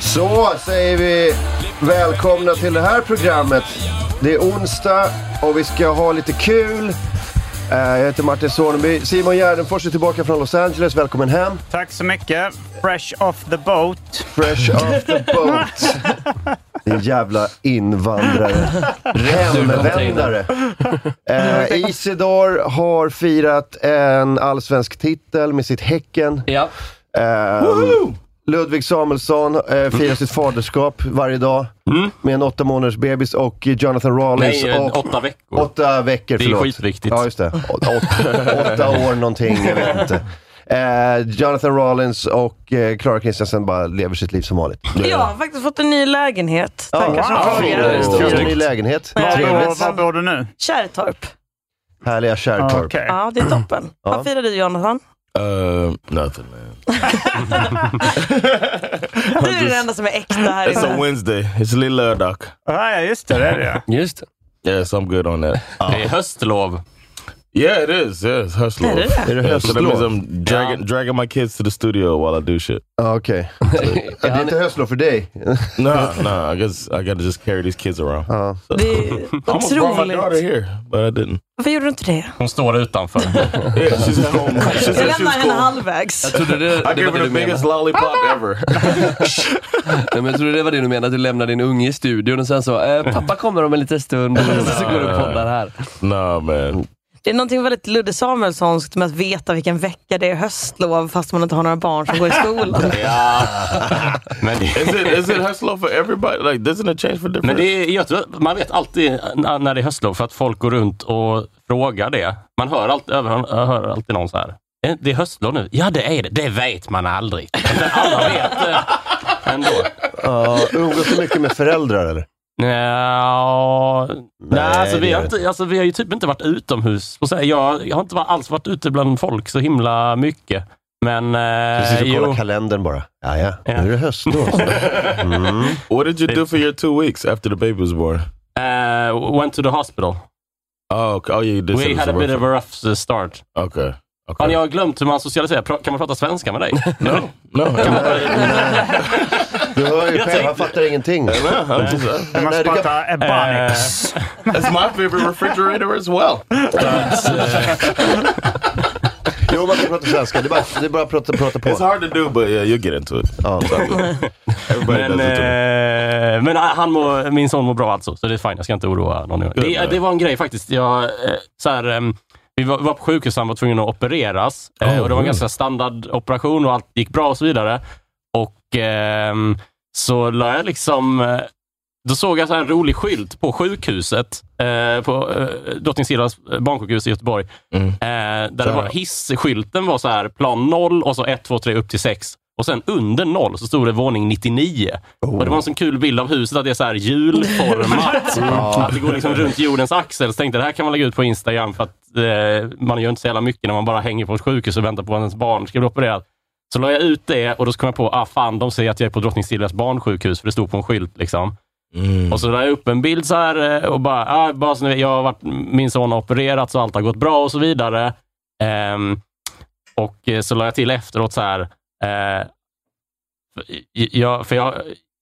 Så säger vi välkomna till det här programmet. Det är onsdag och vi ska ha lite kul. Eh, Jag heter Martin Soneby. Simon Gärdenfors är tillbaka från Los Angeles. Välkommen hem. Tack så mycket. Fresh off the boat. Fresh off the boat. Din jävla invandrare. Hemvändare. Eh, Isidor har firat en allsvensk titel med sitt Häcken. Ja. Ehm, Ludvig Samuelsson eh, firar sitt faderskap varje dag med en åtta månaders bebis och Jonathan Rawlings. Nej, och åtta veckor. Åtta veckor, Det är förlåt. skitviktigt. Ja, just det. Å- åt- åtta år någonting, jag vet inte. Eh, Jonathan Rawlings och eh, Clara Kristiansen bara lever sitt liv som vanligt. Jag har faktiskt fått en ny lägenhet. Tackar som wow. frågar. Fyra- Fyra ny lägenhet. Var bor, Trevligt. var bor du nu? Kärrtorp. Härliga Kärrtorp. Okej. Ja, det är toppen. Ja. Vad firar du Jonathan? Um, Uh, nothing man. Du är den enda som är äkta här It's a inne. Wednesday. It's Lil Lördag. Ah, ja, just det. Det är det. Just det. Yes, I'm good on that. er Det är höstlov. Yeah, it is. Yeah, it's höstlov. Är det det? Är det er Yeah, so that höstlov? means I'm dragging, dragging my kids to the studio while I do shit. Ja, okej. Det är inte höstlov för dig. Nah, nah. I guess I gotta just carry these kids around. Ja. Det är I almost brought my daughter otroligt. here, but I didn't. Varför gjorde du inte det? Hon står utanför. Yeah, she's at home. She Jag said she lämnar was henne cool. halvvägs. Jag trodde det, I det, gave var her det, the du menade. biggest lollipop ever. Nej, men jag trodde det var det du menade, att du lämnar din unge i studion och sen så, eh, pappa kommer om en liten stund och så, så går du och poddar här. nah, man. Det är någonting väldigt Ludde Samuelssonskt med att veta vilken vecka det är höstlov fast man inte har några barn som går i skolan. Men det, Is it is it höstlov for everybody? Like, doesn't it change for different? men det är, jag tror, man vet alltid na- när det är höstlov för att folk går runt och frågar det. Man hör alltid, över, jag hör alltid någon så här. "Eh, Det är höstlov nu. Ja, det är det. Det vet man aldrig. Men alla vet det ändå. Ja, umgås du mycket med föräldrar eller? Nja, nej, alltså, det vi, har gör inte, alltså, vi har ju typ inte varit utomhus. Och så här, jag, jag har inte var- alls varit ute bland folk så himla mycket. Men Du eh, sitter och kollar jo, kalendern bara. Ja, ja. Nu Ja. är det höstlov. Mm. Mm-hmm. What did you do for your two weeks after the baby was born? eh, went to the hospital. Ah, Oh, okay. oh yeah, you did. We send us had a some bit of info. a rough start. Okay. Har Okay. ni glömt hur man socialiserar? Pra- Kan man prata svenska med dig? No, no. Du hör ju själv, han fattar ingenting. I'm just- Du måste Nej, du kan- prata Uh, ebonics. That's my favorite refrigerator as well. uh, Jo, man kan prata svenska. Det är bara, det är bara att prata, prata It's på. hard to do, but yeah, you'll get into it. Ja. Everybody Men, does it to me. eh, men han mår, min son mår bra alltså, så det är fint. Jag ska inte oroa någon. Det, det var en grej faktiskt. Jag, eh, så här, ehm, vi var, var på sjukhus, han var tvungen att opereras. eh, och det var en ganska standardoperation och allt gick bra och så vidare. Och ehm, så la jag liksom... eh, Då såg jag så här en rolig skylt på sjukhuset, eh, på eh, Drottningsedas barnsjukhus i Göteborg. Mm. Eh, där Så det var här. hisskylten var så här plan 0 och så 1, 2, 3 upp till 6. Och sen under 0 så stod det våning 99. Oh. Och det var en sån kul bild av huset att det är så här julformat. Att det går liksom runt jordens axel. Så tänkte jag, det här kan man lägga ut på Instagram för att eh, man gör inte så jävla mycket när man bara hänger på ett sjukhus och väntar på att ens barn ska bli opererat. Så la jag ut det och då kom jag på, ah fan, de säger att jag är på Drottning Silvias barnsjukhus, för det stod på en skylt liksom. Och så la jag upp en bild så här eh, och bara, ah, bara så ni vet, jag har varit, min son har opererats och allt har gått bra och så vidare. Ehm, och eh, så la jag till efteråt så här, eh, för, jag, för jag,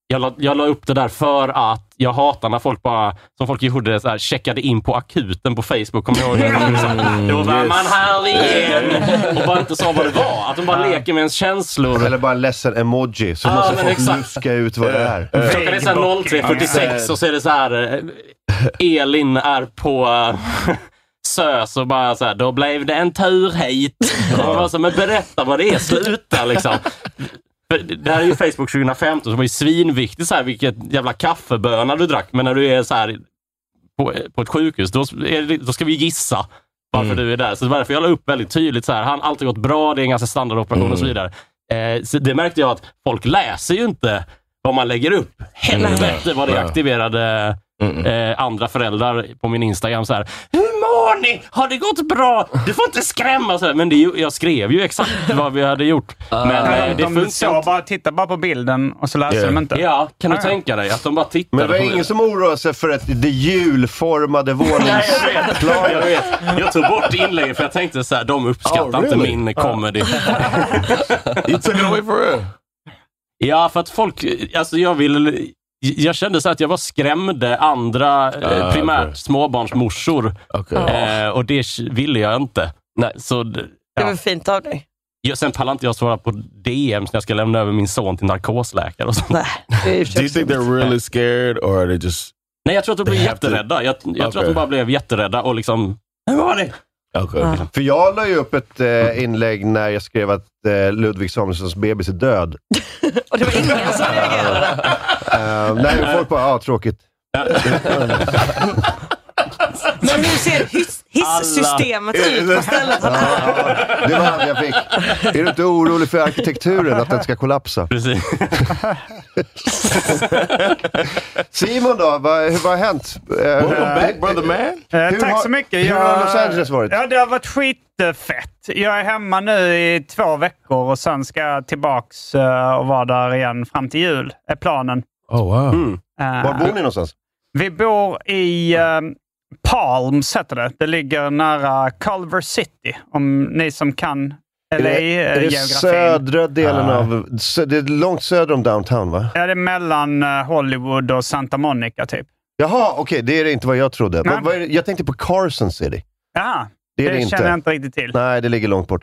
Jag la, jag la upp det där för att jag hatar när folk bara, som folk gjorde, så här, checkade in på akuten på Facebook. Kommer jag ihåg det? Mm, Då var man här igen! Och bara inte sa vad det var. Att de bara leker med ens känslor. Eller bara en ledsen emoji så Ah, måste men folk exakt. luska ut vad det är. Klockan är såhär 03.46 och så är det så här eh, Elin är på eh, SÖS och bara så här, då blev det en tur hit. Och man bara så, men berätta vad det är, sluta liksom. För Det här är ju Facebook 2015, så det var ju svinviktigt så här, vilket jävla kaffeböna du drack. Men när du är så här på, på ett sjukhus, då, är det, då ska vi gissa varför du är där. Så det var därför jag la upp väldigt tydligt så här, han allt har gått bra, det är en ganska standardoperation och så vidare. Eh, så det märkte jag att folk läser ju inte vad man lägger upp. Helvete vad det Nej. aktiverade eh, andra föräldrar på min Instagram. Så här, Hur mår ni? Har det gått bra? Du får inte skrämma! Så här, men det, är ju- jag skrev ju exakt vad vi hade gjort. Men eh, det de de funkar såg inte. bara, tittade bara på bilden och så läste Yeah. de inte. Ja, kan du Ja, ja. tänka dig att de bara tittade Men det var på ingen som oroade sig för att det julformade vånings... Nej, jag vet. Jag, vet. jag tog bort inlägget för jag tänkte så här, de uppskattar Oh, really? inte min comedy. You took it away for real. Ja, för att folk, alltså jag ville, jag kände så här att jag var skrämde andra, eh, Ah, primärt okej. småbarnsmorsor. Okay. Eh, och det ville jag inte. Nej. Så d- Det ja. var fint av dig. jag, sen pallar inte jag svara på DM när jag ska lämna över min son till narkosläkare och sånt. Nej, det är ju Do you think they're really scared or are they just Nej, jag tror att de blev They have to- jätterädda. Jag, jag tror att de Okej. bara blev jätterädda och liksom, hur var det? okay? Ah. För jag la ju upp ett eh, inlägg när jag skrev att eh, Ludvig Samuelssons bebis är död. Och det var ingen som reagerade. Eh, nej, folk bara, ja, ah, tråkigt. Men hur ser hiss- hissystemet ut på stället? Det var allt jag fick. Är du inte orolig för arkitekturen, att den ska kollapsa? Precis. Simon då, vad, hur- vad har hänt? Eh, Welcome back, brother man. Eh, Hur tack har- så mycket. hur har Los Angeles varit? Ja, det har varit skitfett. Jag är hemma nu i två veckor och sen ska jag tillbaks eh, och vara där igen fram till jul, är planen. Oh, wow. Mm. Eh, var bor ni någonstans? Vi bor i eh, Palms, heter det. Det ligger nära Culver City, om ni som kan Är det, eh, är det LA-geografin. södra Ah. delen av... sö- Det är långt söder om downtown, va? Ja, det är mellan eh, Hollywood och Santa Monica, typ. Jaha, okej, det är det inte vad jag trodde. Nej. Vad, vad är det? Jag tänkte på Carson City. Jaha, Det är det, det inte. känner jag inte riktigt till. Mm. Nej, det ligger långt bort.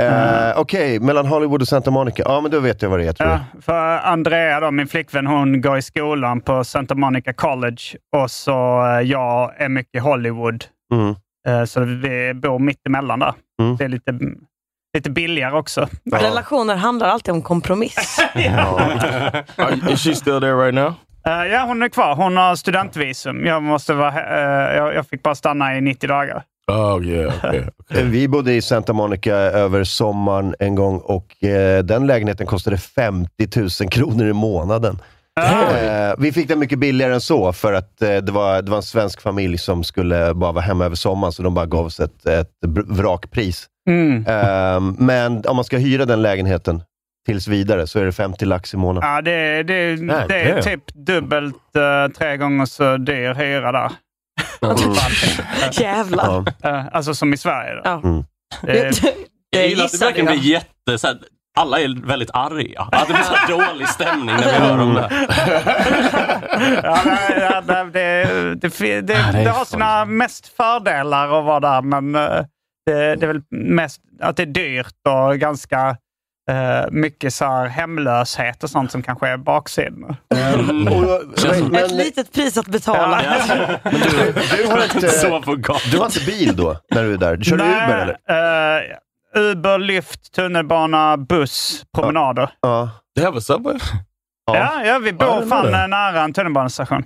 Eh, Okej, mellan Hollywood och Santa Monica. Ja, men då vet jag vad det är, tror jag. Ja, för Andrea, då, min flickvän, hon går i skolan på Santa Monica College och så eh, jag är mycket i Hollywood. Mm. Eh, Så vi bor mitt emellan där. Mm. Det är lite, lite billigare också. Relationer handlar alltid om kompromiss. Are, is she still there right now? Eh, Ja, hon är kvar. Hon har studentvisum. Jag, måste vara, he- eh, jag- jag fick bara stanna i 90 dagar. Oh yeah. Okay. Eh, Vi bodde i Santa Monica över sommaren en gång och eh, den lägenheten kostade 50 000 kronor i månaden. Eh, vi fick den mycket billigare än så för att eh, det, var, det var en svensk familj som skulle bara vara hemma över sommaren så de bara gav oss ett, ett br- vrakpris. Mm. Eh, men om man ska hyra den lägenheten tills vidare så är det 50 lax i månaden. Ja, det, det, Nej, det är det. typ dubbelt, eh, tre gånger så dyr hyra där. Jävlar. Ja. Eh, alltså som i Sverige. Då. Ja. Mm. Eh, Jag Det gillar att det gissade verkligen jag. blir jätte... Så här, alla är väldigt arga. Att det blir så här dålig stämning Alltså, när vi hör om det. Ja, nej, Mm. ja, nej, det, det, fi- det, det har sina mest fördelar att vara där, men eh, det, det är väl mest att det är dyrt och ganska eh, mycket så här hemlöshet och sånt som kanske är baksidan. Mm. Och, men, Ett men, litet pris att betala. du, har inte, Så på gatan. du har inte bil då, när du är där? Kör du Nej, Uber eller? eh, Uber, lyft, tunnelbana, buss, promenader. Ja. They have a subway. Ja, ja, vi bor Ja, det var fan det. nära en tunnelbanestation.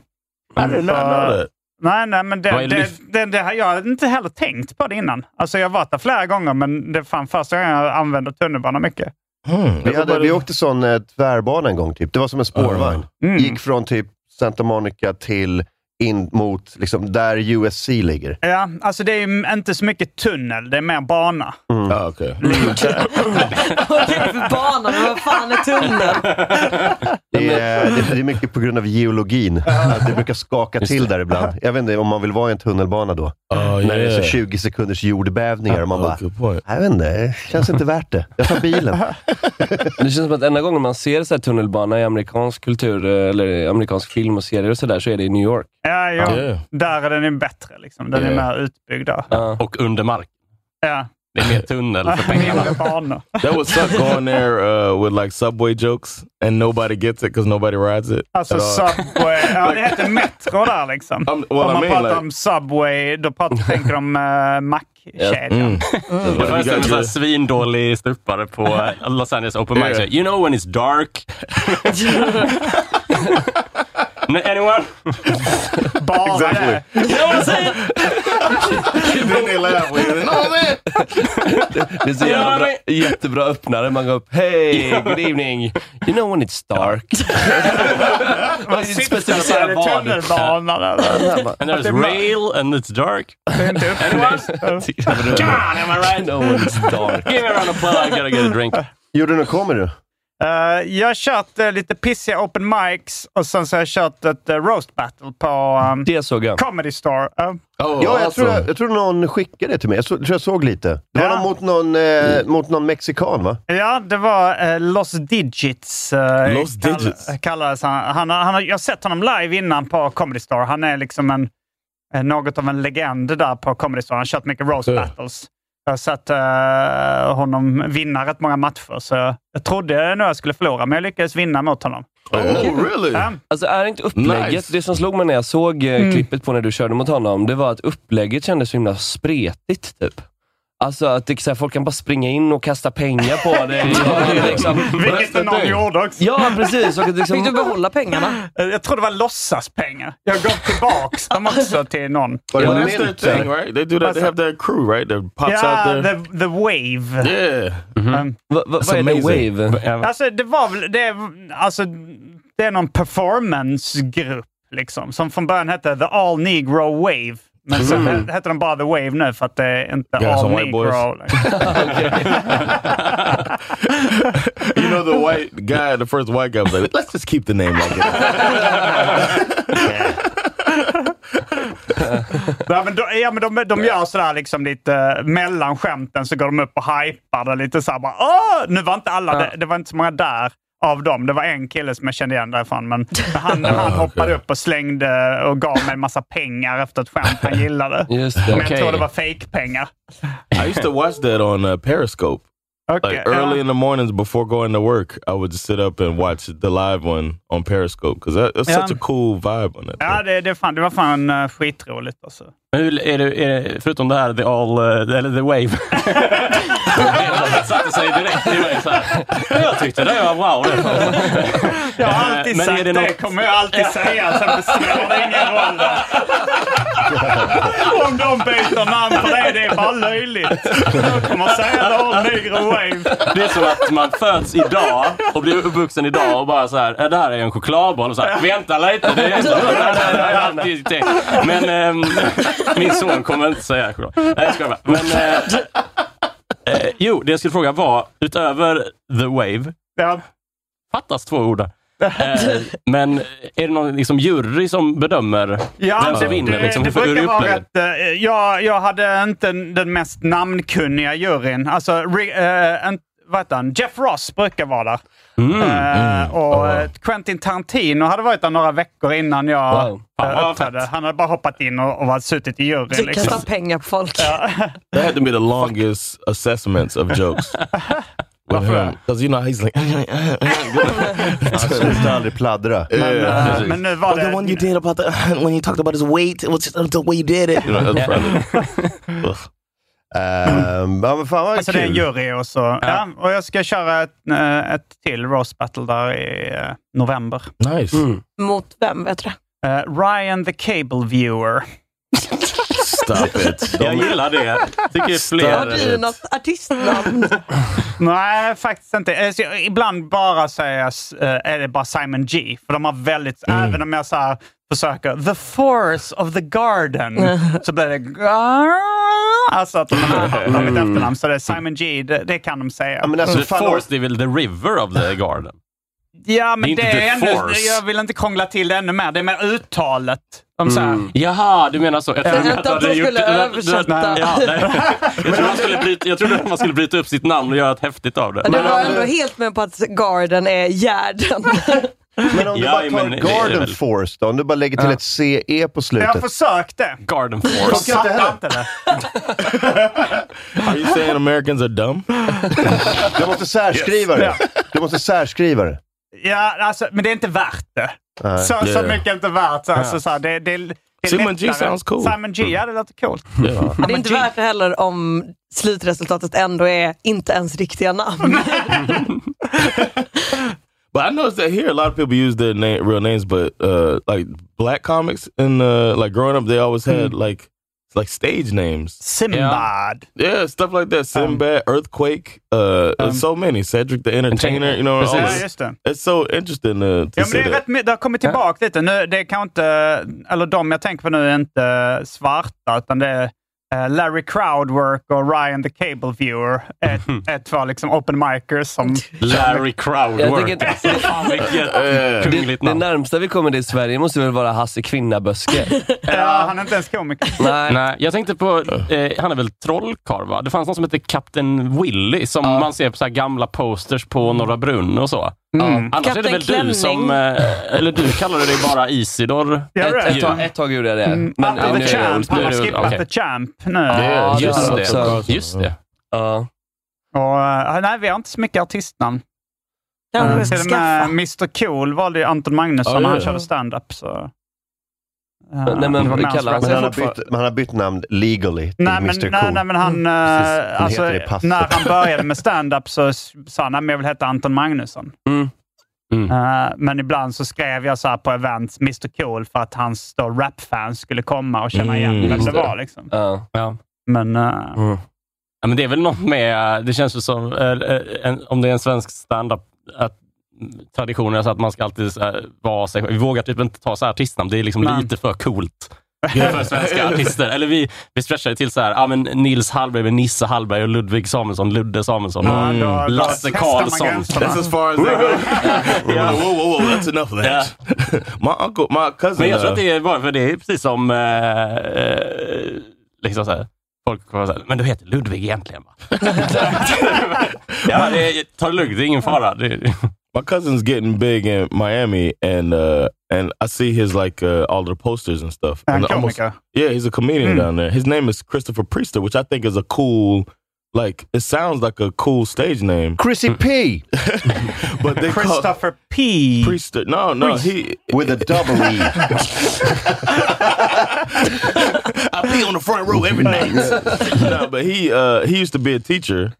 I did not know that. Nej, nej, men det, Vad är det, lyft? det, det, har jag hade inte heller tänkt på det innan. Alltså jag har varit där flera gånger, men det är fan första gången jag använder tunnelbanan mycket. Hmm. Vi, hade, vi åkte sån eh, tvärbana en gång, typ. det var som en spårvagn. Mm. Gick från typ Santa Monica till in mot liksom, där USC ligger. Ja, alltså det är ju inte så mycket tunnel, det är mer bana. Mm. Ah, okay. Vad är det för bana? Men Vad fan är tunneln? Det är, det det är mycket på grund av geologin. Att det brukar skaka till där ibland. Jag vet inte om man vill vara i en tunnelbana då. Oh, När det är så yeah. 20 sekunders jordbävningar och man bara, Good point. jag vet inte, det känns inte värt det. Jag tar bilen. Men Det känns som att enda gången man ser så här tunnelbana i amerikansk kultur, eh, eller i amerikansk film och serier och sådär, så är det i New York. Ja, jo. Yeah. Där är den ju bättre. Liksom. Den är Ja. mer utbyggd där. Ja. Och under mark. Ja. Det är mer tunnel för pengarna. Mindre banor. That would suck going there uh, with like subway jokes and nobody gets it because nobody rides it. Alltså at all. Subway. Ja, det heter Metro där liksom. I'm- well, Om I man mean, pratar like- om Subway, då pratar, tänker de uh, mackkedjan. Mm. Det fanns en sån här Yeah. svindålig stupare på eh, Los Angeles Open Mic. Yeah. Så, You know when it's dark? No, Anyone? Bara det. Exactly. You know what I'm saying? then they laugh. Like, no man. Det är så jävla bra, jättebra öppnare. Man går upp, hej, good evening. You know when it's dark. Man specificerar vad. Tunnelbanan eller? And there's det är mör- rail and it's dark. Det är inte upplöst. God, am I right? You know when it's dark. Give me a round of applause. I gotta get a drink. Gjorde du kommer du? Eh, jag har kört eh, lite pissiga open mics och sen så har jag kört ett eh, roast battle på ehm, Det såg jag. Comedy Store. Eh, Oh, Ja, jag awesome. tror, jag, jag tror någon skickade det till mig. Jag så, tror jag såg lite. Det var Ja. någon mot, någon, eh, mot någon mexikan, va? ja, det var eh, Los Digits. eh, Los Digits? Kallades han. Han, har- han, har- jag har sett honom live innan på Comedy Store. Han är liksom en, eh, något av en legend där på Comedy Store. Han har kört mycket roast Ja. battles. Jag har sett eh, honom vinna rätt många matcher, så jag trodde nog jag skulle förlora, men jag lyckades vinna mot honom. Oh, really? Ja. Alltså är inte upplägget, Nice. det som slog mig när jag såg eh, klippet på när du körde mot honom, det var att upplägget kändes så himla spretigt typ. Alltså att det, så här, folk kan bara springa in och kasta pengar på dig. Ja, det är liksom, Vilket någon gjorde också. ja precis. Och att liksom, Fick du behålla pengarna? Eh, Jag tror det var låtsaspengar. Jag gav tillbaks dem också till någon. Var Well, det that's their mint? eller? thing, right? They do that. They have their crew, right? That pops Ja, out there. the, the Wave. eh, Yeah. Um, va, va, vad är det? amazing. Wave? Alltså, det var väl... Det, är- alltså, det är någon performancegrupp liksom, som från början hette The All Negro Wave. Men sen he- heter de bara The Wave nu för att det är inte Guys All and White Boys. Negro. You know the white guy, the first white guy was like, let's just keep the name like that. ja, men de, ja, men de, de gör sådär liksom lite eh, mellan skämten så går de upp och hypar det lite såhär bara Åh! Nu var inte alla, det, det var inte så många där av dem. Det var en kille som jag kände igen därifrån, men han, han hoppade upp och slängde och gav mig en massa pengar efter ett skämt han gillade. Just Men det. jag tror det var fake-pengar. I used to watch that on uh, Periscope. Like Okej, early ja. in the mornings before going to work, I would sit up and watch the live one on Periscope because that, that's Yeah. such a cool vibe on that. Ja, thing. det, det, fan, det var fan eh, skitroligt alltså. Men hur är det, är det, förutom det här, the all, eh, eller the wave. Han satte sig direkt i mig så här. Jag tyckte det var wow. Eh, Jag har alltid Men är sagt det det, något- kommer jag alltid säga, så det spelar ingen roll. Om de byter namn på det, det är bara löjligt. Jag kommer säga det om Negro Wave. Det är som att man föds idag och blir uppvuxen idag och bara så här, "Eh, det här är en chokladboll. Och så här, Vänta lite, det är inte... Men ehm, min son kommer inte säga choklad. Nej, jag skojar bara. Men, eh, eh, jo, det jag skulle fråga var, utöver the wave, Ja. fattas två ord där. Eh, men är det någon liksom, jury som bedömer vem Ja, alltså, som det, vinner? Liksom, det, hur- det hur är brukar vara upplägget? rätt. eh, Jag, jag hade inte den mest namnkunniga juryn. Alltså, re, eh, en, vad heter han? Jeff Ross brukar vara där. Mm, Eh, och eh, Quentin Tarantino hade varit där några veckor innan jag Wow. eh, vad uppträdde. Han hade bara hoppat in och, och var suttit i juryn. Du Liksom. kastar pengar på folk. That had to be the longest assessments of jokes. Because you know he's like, Han slutar aldrig pladdra. yeah. uh, Eh, Men nu var det... did about the when you talked about his weight, it was just the way you did it. You know, that's probably- Ugh. Ehm, ja, men fan vad Alltså det är en kul. jury och så. Ja. och jag ska köra ett, eh, ett till roast battle där i eh, november. nice. Mot vem vet du? Eh, Ryan the Cable Viewer. Stop it. Jag gillar det. Tycker Har fler. du något artistnamn? Nej, faktiskt inte. Alltså, jag- ibland bara säger jag, s- eh, är det bara Simon G. För de har väldigt, Mm. även om jag så här, försöker, the force of the garden, så blir det Alltså att de Mm. har mitt efternamn. Så det är Simon G, det, det kan de säga. men alltså, The fan, force, det är väl the river of the garden? ja, det är men det inte är, the ändå, force. jag vill inte krångla till det ännu mer. Det är mer uttalet. De så här, Mm. Jaha, du menar så. Jag Jag trodde tänkte att de skulle översätta. Ja, nej. Jag trodde man skulle bryta- Jag trodde att man skulle bryta upp sitt namn och göra ett häftigt av det. Du var om ändå du- helt med på att Garden är Gärden. Men om du Ja, bara tar men det är Garden väl- Force då, om du bara lägger till ett CE på jag slutet. försökte. Garden De force. inte heller. fattar inte det. Are you saying Americans are dumb? Du måste särskriva det. Du måste särskriva det. Ja, alltså, men det är inte värt det. Nej. Så, så Yeah. mycket är inte värt. Så, alltså, så här, det, det, det är Simon G lättare. sounds cool. Simon G, ja det låter coolt. Det är inte värt det heller om slutresultatet ändå är inte ens riktiga namn. But I noticed that here a lot of people use their name, real names, but uh, like black comics and uh, like growing up, they always had like like stage names. Simbad. Yeah, stuff like that. Sinbad, Earthquake, uh, so many. Cedric the Entertainer, you know. all Ja, that. just det. It's so interesting uh, to Ja, men see det, är that. rätt, my- det har kommit tillbaka lite. Nu, det kan inte, eller de jag tänker på nu är inte svarta, utan det är eh, Larry Crowdwork och Ryan the Cable Viewer. Ett, ett var liksom open micers som... Larry Jag Crowdwork. tänker- alltså. Fan vilket Det, kungligt det namn. närmsta vi kommer det i Sverige måste väl vara Hasse Kvinnaböske? ja, han är inte ens komiker. Nej. Nej, jag tänkte på, eh, han är väl trollkarl va? Det fanns någon som hette Kapten Willy som man ser på så här gamla posters på Norra Brunn och så. Annars är det Kapten väl du Mm. Klänning. som, eh, eller du kallade dig bara Isidor. Gör du Ett, ett, det? tag, ett tag gjorde jag det. Men Up nu the är det Champ. ont. Han har Nu är det- skippat okej. The Champ nu. Yeah, just yeah. det. Också. Just det. Ja. Och, eh, nej, vi har inte så mycket artistnamn. Eh, Kanske Till och med skaffa. Mr Cool valde ju Anton Magnusson Ja, när han ja. körde stand-up. Så, eh, nej, men det var kallar med hans han Men sig han, har fortfar- bytt, men han har bytt namn legally till Nej men, Mr nej, Cool. nej, men han, Precis. eh, Han alltså, heter det i passet. när han började med stand-up så s- sa han "Nej, men jag vill heta Anton Magnusson. Mm. Mm. Eh, men ibland så skrev jag så här på events, Mr Cool, för att hans då rapfans skulle komma och känna igen Mm, vem just det det. var. Liksom. Ja. Ja. Mm. Men eh, Ja, men det är väl något med, det känns ju som, eh, eh, en, om det är en svensk standup, att mm, traditionen är så att man ska alltid så här, vara sig själv. Vi vågar typ inte ta så här artistnamn. Det är liksom Nej. lite för coolt för svenska artister. Eller vi, vi stretchar det till så här, ja, men Nils Hallberg med Nisse Hallberg och Ludvig Samuelsson, Ludde Samuelsson och ja, då, då Lasse testar man Karlsson. gränserna. That's as far as they go. Yeah. Whoa, whoa, whoa! That's enough of that. my uncle, my cousin. Men jag tror att uh, det är bara för det är precis som, eh, eh, liksom så här, folk kommer säga, men du heter Ludvig egentligen va? ja, det, är- ta det lugnt, det är ingen fara. Det, my cousin's getting big in Miami, and uh, and I see his like uh, all the posters and stuff. Ah, är han and almost- komiker. yeah, he's a comedian Mm. Hmm. down there. His name is Christopher Priester, which I think is a cool. Like it sounds like a cool stage name, Chrissy P! but they call Christopher P. Priester. No, no, he. With a double E. I pee on the front row every night. no, but he uh, he used to be a teacher,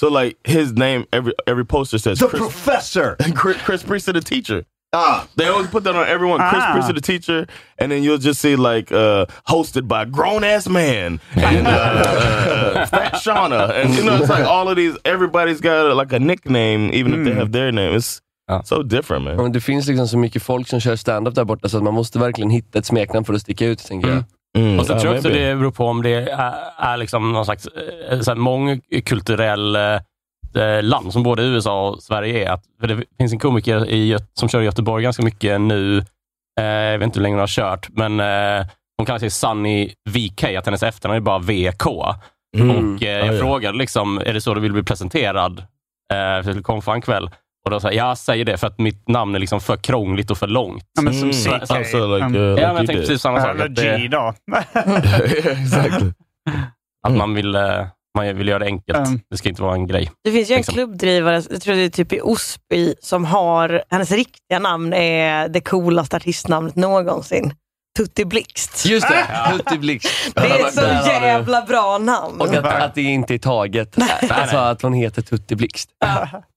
so like his name every every poster says The Chris, Professor! Chris, Chris Priester the teacher. Ah, They always put that on everyone. Chris Ah. Priester, the teacher, and then you'll just see like uh, hosted by grown ass man and uh, uh, Fat Shauna, and you know it's like all of these. Everybody's got uh, like a nickname, even if they have their name. It's Yeah. so different, man. Ja, men Det finns liksom så mycket folk som kör stand-up där borta så att man måste verkligen hitta ett smeknamn för att sticka ut, tänker jag. Mm, Och så uh, tror jag också maybe. det beror på om det är, är liksom någon slags eh, så här mångkulturell eh, land som både USA och Sverige är. Att, för det finns en komiker i, Gö- som kör i Göteborg ganska mycket nu. Eh, jag vet inte hur länge hon har kört, men eh, hon kallar sig Sunny VK, att hennes efternamn är bara VK. Och eh, jag Mm. ja. frågade liksom, är det så du vill bli presenterad? Eh, för jag skulle komma en kväll. Och då sa jag, jag säger det för att mitt namn är liksom för krångligt och för långt. Ja, men som Mm. CK. So- so like, Mm. uh, Ja, like Ja, men jag you tänkte did. precis samma sak. Eller att det- G då. Yeah, exactly. Att man vill, eh, man vill göra det enkelt. Mm. Det ska inte vara en grej. Det finns ju en Liksom. klubbdrivare, jag tror det är typ i Osby, som har, hennes riktiga namn är det coolaste artistnamnet någonsin. Tutti Blixt. Just det! Tutti Blixt. Det är ett så Där har du. jävla bra namn. Och att, att det inte är taget. Alltså att hon heter Tutti Blixt.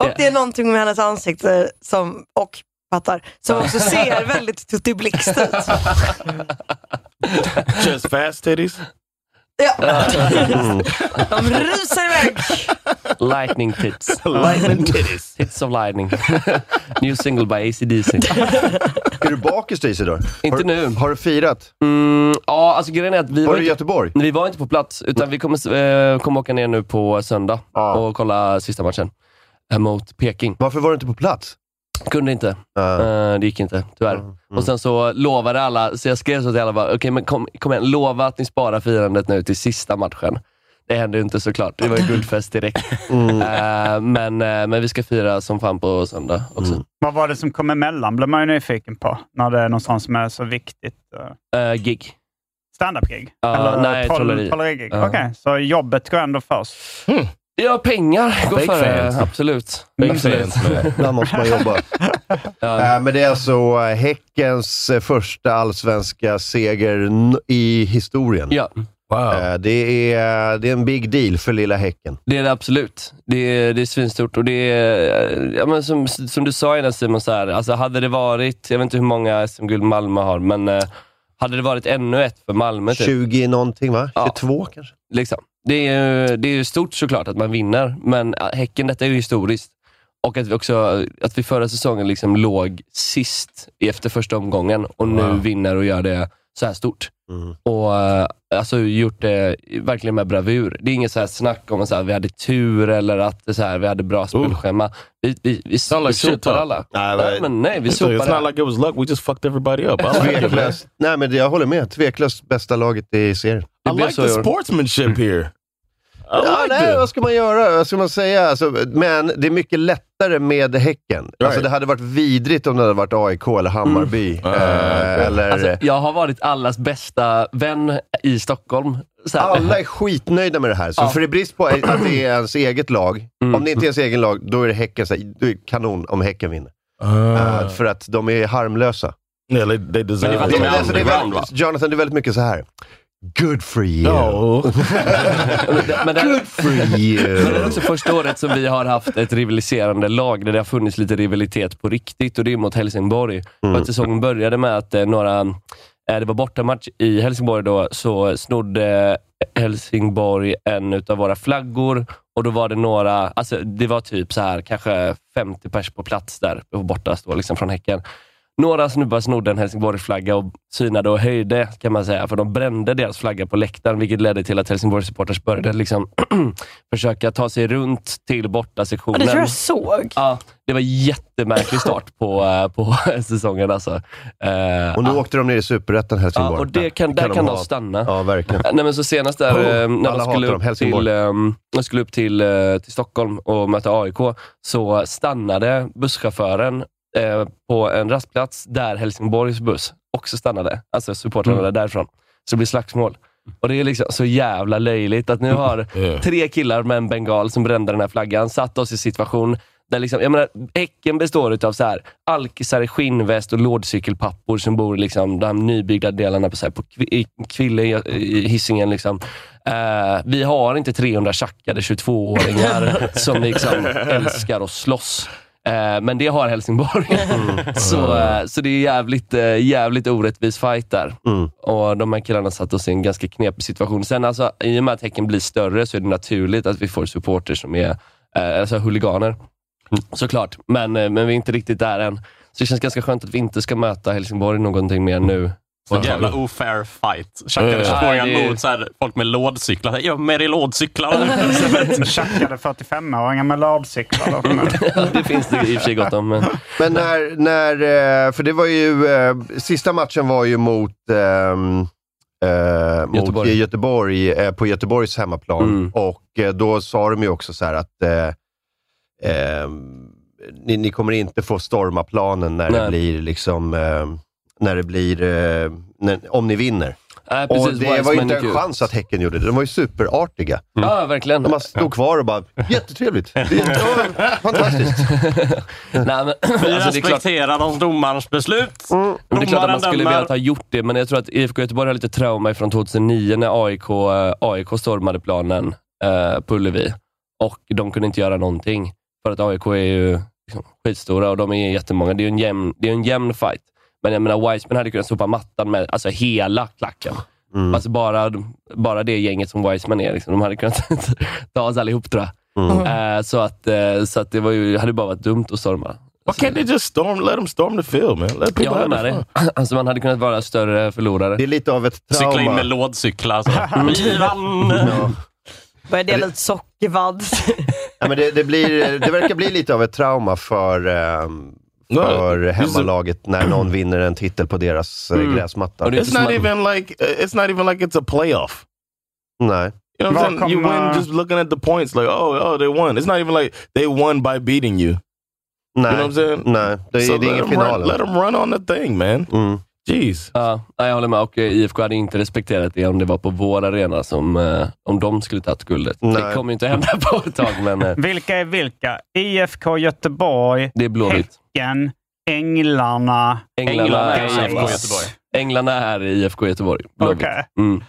Och det är någonting med hennes ansikte som, och pattar som också ser väldigt tuttiblixt ut. Just fast titties. Ja. De rusar iväg. Lightning tits. Lightning titties. Tits of lightning. New single by ACDC. Är du bakis Daisy då? Inte har, nu. Har du firat? Mm, ja, alltså grejen är att vi Var var du i inte, Göteborg? vi var inte på plats, utan vi kommer, eh, kommer åka ner nu på söndag Ja. och kolla sista matchen eh, mot Peking. Varför var du inte på plats? Kunde inte. Äh, Eh, det gick inte, tyvärr. Mm, Och sen så lovade alla, så jag skrev så till alla, bara, okej men kom, kom igen, lova att ni sparar firandet nu till sista matchen. Det hände ju inte såklart. Det var ju guldfest direkt. Mm. Eh, men, eh, men vi ska fira som fan på söndag också. Mm. Vad var det som kom emellan blir man ju nyfiken på när det är någon sån som är så viktigt. eh, Eh, gig. Standup-gig? Ja, nej, troll- trolleri. trollerigig? Ja. Okej, så jobbet går ändå först. Mm. Ja, pengar går Big före. fans. Absolut. Big Absolut. fans med det. där måste man jobba. Ja. Äh, men det är alltså eh, Häckens eh, första allsvenska seger n- i historien. Ja, Wow. Eh, Det är, det är en big deal för lilla Häcken. det är det absolut. Det är, det är svinstort och det är, ja, men som, som du sa innan Simon, så här, alltså hade det varit, jag vet inte hur många SM-guld Malmö har, men eh, hade det varit ännu ett för Malmö, typ, 20 någonting va? Ja. 22 kanske? liksom. det, är ju, det är ju stort såklart att man vinner, men eh, Häcken, detta är ju historiskt. Och att vi också, att vi förra säsongen liksom låg sist efter första omgången och nu Wow. vinner och gör det så här stort. Mm. och eh, alltså, gjort det verkligen med bravur. Det är inget så här snack om att så här, vi hade tur eller att det så här, vi hade bra spelschema. Vi, vi, vi, Sound vi like shit, sopar va? alla. Nej, Nej, men... men nej, vi So it's sopar not alla. like it was luck. We just fucked everybody up. I like it, man. Tveklöst. Nej, men jag håller med. Tveklöst bästa laget i serien. I Det blev like så the i år. sportsmanship here. I Ja, like nej, it. vad ska man göra? Vad ska man säga? Alltså, men det är mycket lättare med Häcken. Alltså, det hade varit vidrigt om det hade varit AIK eller Hammarby. Ah, Eh, eller... Alltså, jag har varit allas bästa vän i Stockholm. Så här. Alla är skitnöjda med det här. Så Ja. för i brist på att det är ens eget lag, Mm. om det inte är ens eget lag, då är det Häcken. Så här, då är det kanon om Häcken vinner. Eh, Uh, för att de är harmlösa. yeah, they, they Men det var deserve de Men är alltså, det är underground, väldigt, Jonathan, det är väldigt mycket så här. Good for you. No. Men det- men det- Good for Men det är you. också första året som vi har haft ett rivaliserande lag där det har funnits lite rivalitet på riktigt och det är mot Helsingborg. För Mm. att säsongen började med att eh, några, eh, det var bortamatch i Helsingborg då, så snodde Helsingborg en utav våra flaggor och då var det några, alltså det var typ så här kanske 50 pers på plats där, på borta står liksom från Häcken. Några snubbar snodde en Helsingborgsflagga och synade och höjde, kan man säga, för de brände deras flagga på läktaren, vilket ledde till att Helsingborgs supporters började liksom försöka ta sig runt till borta Ja, sektionen. Det tror jag såg. Ja, det var jättemärklig start på, eh, på säsongen alltså. Eh, Och nu åkte de ner i Superettan ja, Helsingborg. och det kan, där de kan ha. de stanna. Ja, verkligen. Nej, men så senast där, Oh, eh, när alla de skulle hatar dem, upp, Helsingborg. till, eh, de skulle upp till, eh, till Stockholm och möta AIK, så stannade busschauffören eh, på en rastplats där Helsingborgs buss också stannade. Alltså supportrarna Mm. därifrån. Så det blir slagsmål. Och Det är liksom så jävla löjligt att nu har Yeah. tre killar med en bengal som brände den här flaggan, satt oss i situation där liksom, jag menar, Häcken består av så här, alkisar i skinnväst och lådcykelpappor som bor i liksom, de nybyggda delarna på, så här, på Kvi- i Kville i, i Hisingen. Liksom. Eh, vi har inte 300 tjackade 22-åringar som liksom älskar att slåss. Eh, men det har Helsingborg. så, eh, så det är jävligt, eh, jävligt orättvis fight där. Mm. Och De här killarna satt oss i en ganska knepig situation. Sen alltså, i och med att Häcken blir större så är det naturligt att vi får supporter som är eh, alltså huliganer. Mm. Såklart, men, eh, men vi är inte riktigt där än. Så det känns ganska skönt att vi inte ska möta Helsingborg någonting mer nu. Så jävla ofair fight. Tjackade Ja, ja. 22-åringar Nej, det är- mot så här, folk med lådcyklar. Jag är med i lådcyklar. Tjackade 45-åringar med ladcyklar. då. det finns det i och för sig gott om. Men, Men när, när, eh, för det var ju, eh, sista matchen var ju mot, ehm, eh, mot Göteborg. Göteborg, eh, på Göteborgs hemmaplan. Mm. Och eh, då sa de ju också så här att eh, ehm, ni, ni kommer inte få storma planen när det Nej. blir liksom, eh, när det blir, eh, när, om ni vinner. nej, och precis, det Wiseman var ju inte gick en ut. chans att Häcken gjorde det. De var ju superartiga. Ja, verkligen. De bara stod kvar och bara, jättetrevligt. Det var fantastiskt. Nej, men, Vi alltså, det är klart, Mm. respekterar de domarens beslut. men det är klart att man Domaren skulle dömer. velat ha gjort det, men jag tror att IFK Göteborg har lite trauma från 2009 när AIK, eh, AIK stormade planen eh, på Ullevi och de kunde inte göra någonting. För att AIK är ju liksom, skitstora och de är jättemånga. Det är ju en jämn, det är en jämn fight. Men jag menar, Wiseman hade kunnat sopa mattan med alltså, hela klacken. Alltså bara, bara det gänget som Wiseman är, liksom, de hade kunnat ta oss allihop tror jag. Eh, så att, eh, så att det var ju, hade bara varit dumt att storma. Alltså, Why can't they just storm? Let them storm the field, man. Let people Jag håller have med their dig. fun. Alltså man hade kunnat vara större förlorare. Det är lite av ett trauma. Mm. Cykla in med lådcyklar. Så. Vi vann! Ja. Börjar dela ut sockervadd. Ja, men det, det, blir, det verkar bli lite av ett trauma för, ehm, Ja, för just- hemmalaget när någon vinner en titel på deras eh, gräsmatta. Och Mm. det- It's It's not my- even like uh, it's not even like it's a playoff. Nej. You know what I'm saying? You Welcome, uh, win just looking at the points, like oh oh they won. It's not even like they won by beating you. Nej. You know what I'm saying? Nej, det, so det är let ingen 'em run, let final. 'em run on the thing, man. Mm. Jeez. Ja, nej, jag håller med. Och eh, IFK hade inte respekterat det om det var på vår arena som eh, om de skulle tagit guldet. Nej. Det kommer ju inte hända på ett tag, men eh, Vilka är vilka? IFK Göteborg, det är blåvitt. Häcken, Änglarna. Änglarna, Änglarna är är IFK IFK Göteborg. Göteborg. Änglarna är IFK Göteborg. Blåvitt. Okej. Mm.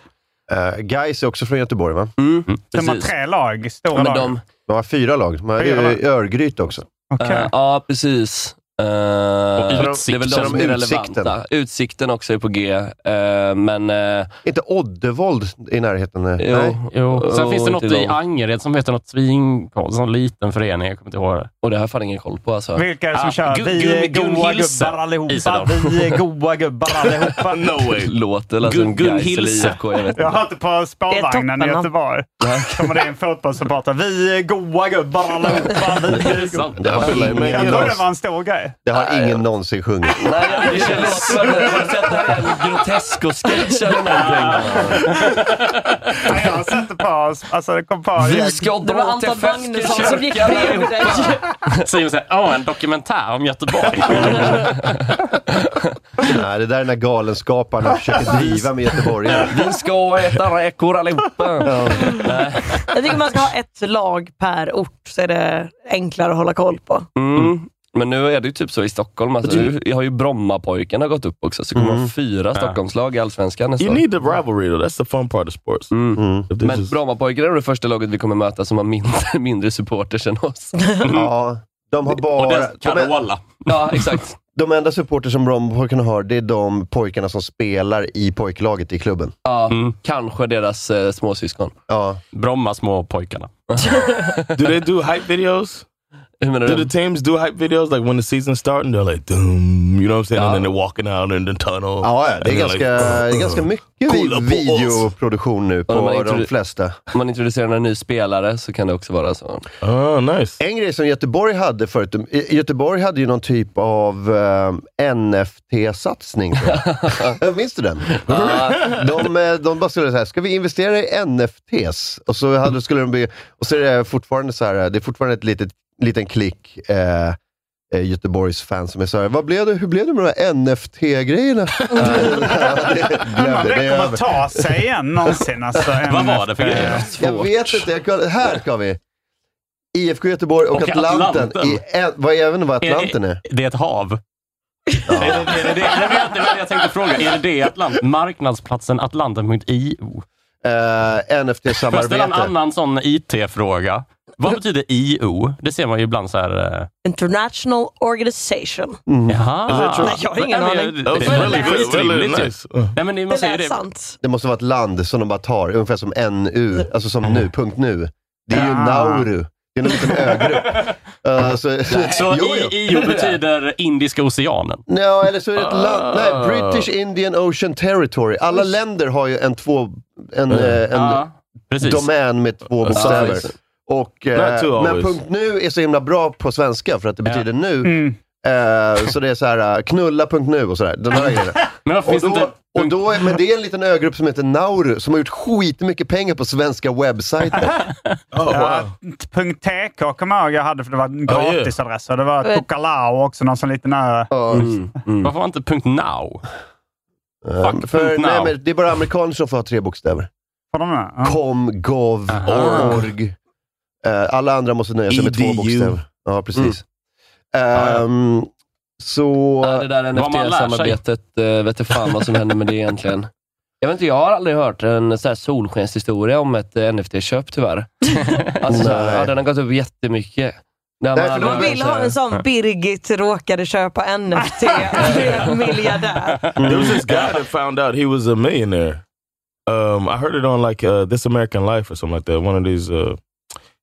Eh, Guys är också från Göteborg, va? Mm, De har precis. tre lag, stora Ja, men lag. de, De har fyra lag. De har Fyra Ö- lag. Örgryte också. Okej. eh, ja, precis. Eh, Och det är väl Utsikt. de som är Utsikten. relevanta. Utsikten också är på G, eh, men... eh, Inte Oddevold i närheten? eh, jo, Nej. Jo. Sen och finns det något inte i de. Angered som heter något svinkoll. Sån liten förening. Jag kommer inte ihåg det. Och det har jag fan ingen koll på alltså. Vilka är det som Ah, kör? Gun- vi är Gun- Gun goa Hilsen. gubbar allihopa. Isador. Vi är goa gubbar allihopa. No way. Låter eller Gun- som Gun Gais eller Hilse. IFK, jag vet Jag inte. hörde på spårvagnen i Det är toppen, Göteborg. Kommer det en fotbollssupporter. Vi är goa gubbar allihopa. Vi är goa. Sant. Det har feel like, man, Jag you trodde know, det var en stor grej. Det har ingen någonsin sjungit. Nej, det känns som en Grotesco-sketch eller någonting. Nej, Jag sätter på oss. Alltså, det kom på. Vi ska Det var dra till Anton Magnusson som gick festkyrkan. bredvid dig. Simon säger, åh, en dokumentär om Göteborg. Nej, det där är när galenskaparna försöker driva med Göteborg. Vi ska äta räkor allihopa. Jag tycker man ska ha ett lag per ort så är det enklare att hålla koll på. Mm. Men nu är det ju typ så i Stockholm. Alltså, jag har ju Brommapojkarna gått upp också, så det Mm. kommer vara fyra Stockholmslag i Allsvenskan nästa you år. need the rivalry though. That's the fun part of sports. If they Men just- Brommapojkarna är det första laget vi kommer möta som har mindre, mindre supporters än oss. Ja, de har Och bara... det, De, en- Carola. Ja, exakt. de enda supporter som Brommapojkarna har, det är de pojkarna som spelar i pojklaget i klubben. Ja, Mm. Kanske deras eh, småsyskon. Ja. Bromma små pojkarna. do they do hype videos? Hur menar Do the du? teams do hype videos like when the season's starting? They're like, Dum, you know what I'm saying? Yeah. And then they're walking out in the tunnel. Ja, ja, det är And they're ganska, like, det är ganska mycket Kolla vi- på videoproduktion nu Ja, de har på de introdu- flesta. Om man introducerar en ny spelare så kan det också vara så. Oh, nice. En grej som Göteborg hade förut, i- Göteborg hade ju någon typ av eh, NFT-satsning. tror jag. Minns du den? Ah. De, eh, de bara skulle säga, ska vi investera i NFTs? Och så hade, skulle de bli, och så är det fortfarande så här, det är fortfarande ett litet, liten klick eh, eh, Göteborgs fans som är så här, vad blev det, hur blev det med de här NFT-grejerna? Undrar Glöm om det, det det är kommer över. ta sig igen någonsin. Alltså, Vad var det för NFT? grejer? Jag vet inte, jag, koll- här ska vi. IFK Göteborg och, Och Atlanten. Atlanten. I, en, vad, jag vet inte vad Atlanten är. Det är ett hav. Är det, är det, det, det, var det, var det jag tänkte fråga. Är det det Atlant? Marknadsplatsen atlanten.io? Får Eh, jag ställa en NFT-samarbete. annan sån IT-fråga? Vad betyder IO? Det ser man ju ibland så här... eh, International Organization. Mm. Alltså, Jaha. Nej, jag har ingen Nej, men aning. jag- That was Det är really good. Really skitrimligt ju. nice. Uh. Nej, men man Det säger lät det. sant. Det måste vara ett land som de bara tar, ungefär som NU, alltså som Mm. nu, punkt nu. Det är ju Ah. Nauru. Det är en liten ögrupp. Eh, så, Så jo, jo. I, IO betyder Indiska oceanen. Ja, eller så är det ett land. Ah. Nej, British Indian Ocean Territory. Alla länder har ju en två... En, eh, en, Ja, precis. domän med två bokstäver. Och, Not eh, two men always. punkt nu är så himla bra på svenska för att det Ja. betyder nu. Mm. Eh, så det är så här, eh, knulla punkt nu och sådär. Den här grejen. Men varför och finns det då, inte... och då är, men det är en liten ögrupp som heter Nauru som har gjort skitmycket pengar på svenska webbsajter. Oh, Ja, wow. punkt .tk kommer jag ihåg jag hade för det var en Ja, ju. gratisadress. Och det var Tokelau också, någon sån liten ö. Ja. Mm. Varför var inte punkt .now? Eh, fuck för, punkt nej, now. men det är bara amerikaner som får ha tre bokstäver. Får de det? Ja. Kom, gov, Aha. org. Eh, alla andra måste nöja sig med två EDU. bokstäver. Ja, precis. ja. Ehm, så... Ja, det där Vad man lär sig. NFT-samarbetet, eh, vet du fan vad som händer med det egentligen. Jag vet inte, jag har aldrig hört en så här solskenshistoria om ett eh, NFT-köp tyvärr. Alltså, så här, Nej. ja, den har gått upp jättemycket. Nej, Nej, för aldrig de Man hört vill så här- ha en sån Birgit råkade köpa NFT. Miljardär. There was this guy that found out he was a millionaire. Um, I heard it on like uh, This American Life or something like that. One of these uh,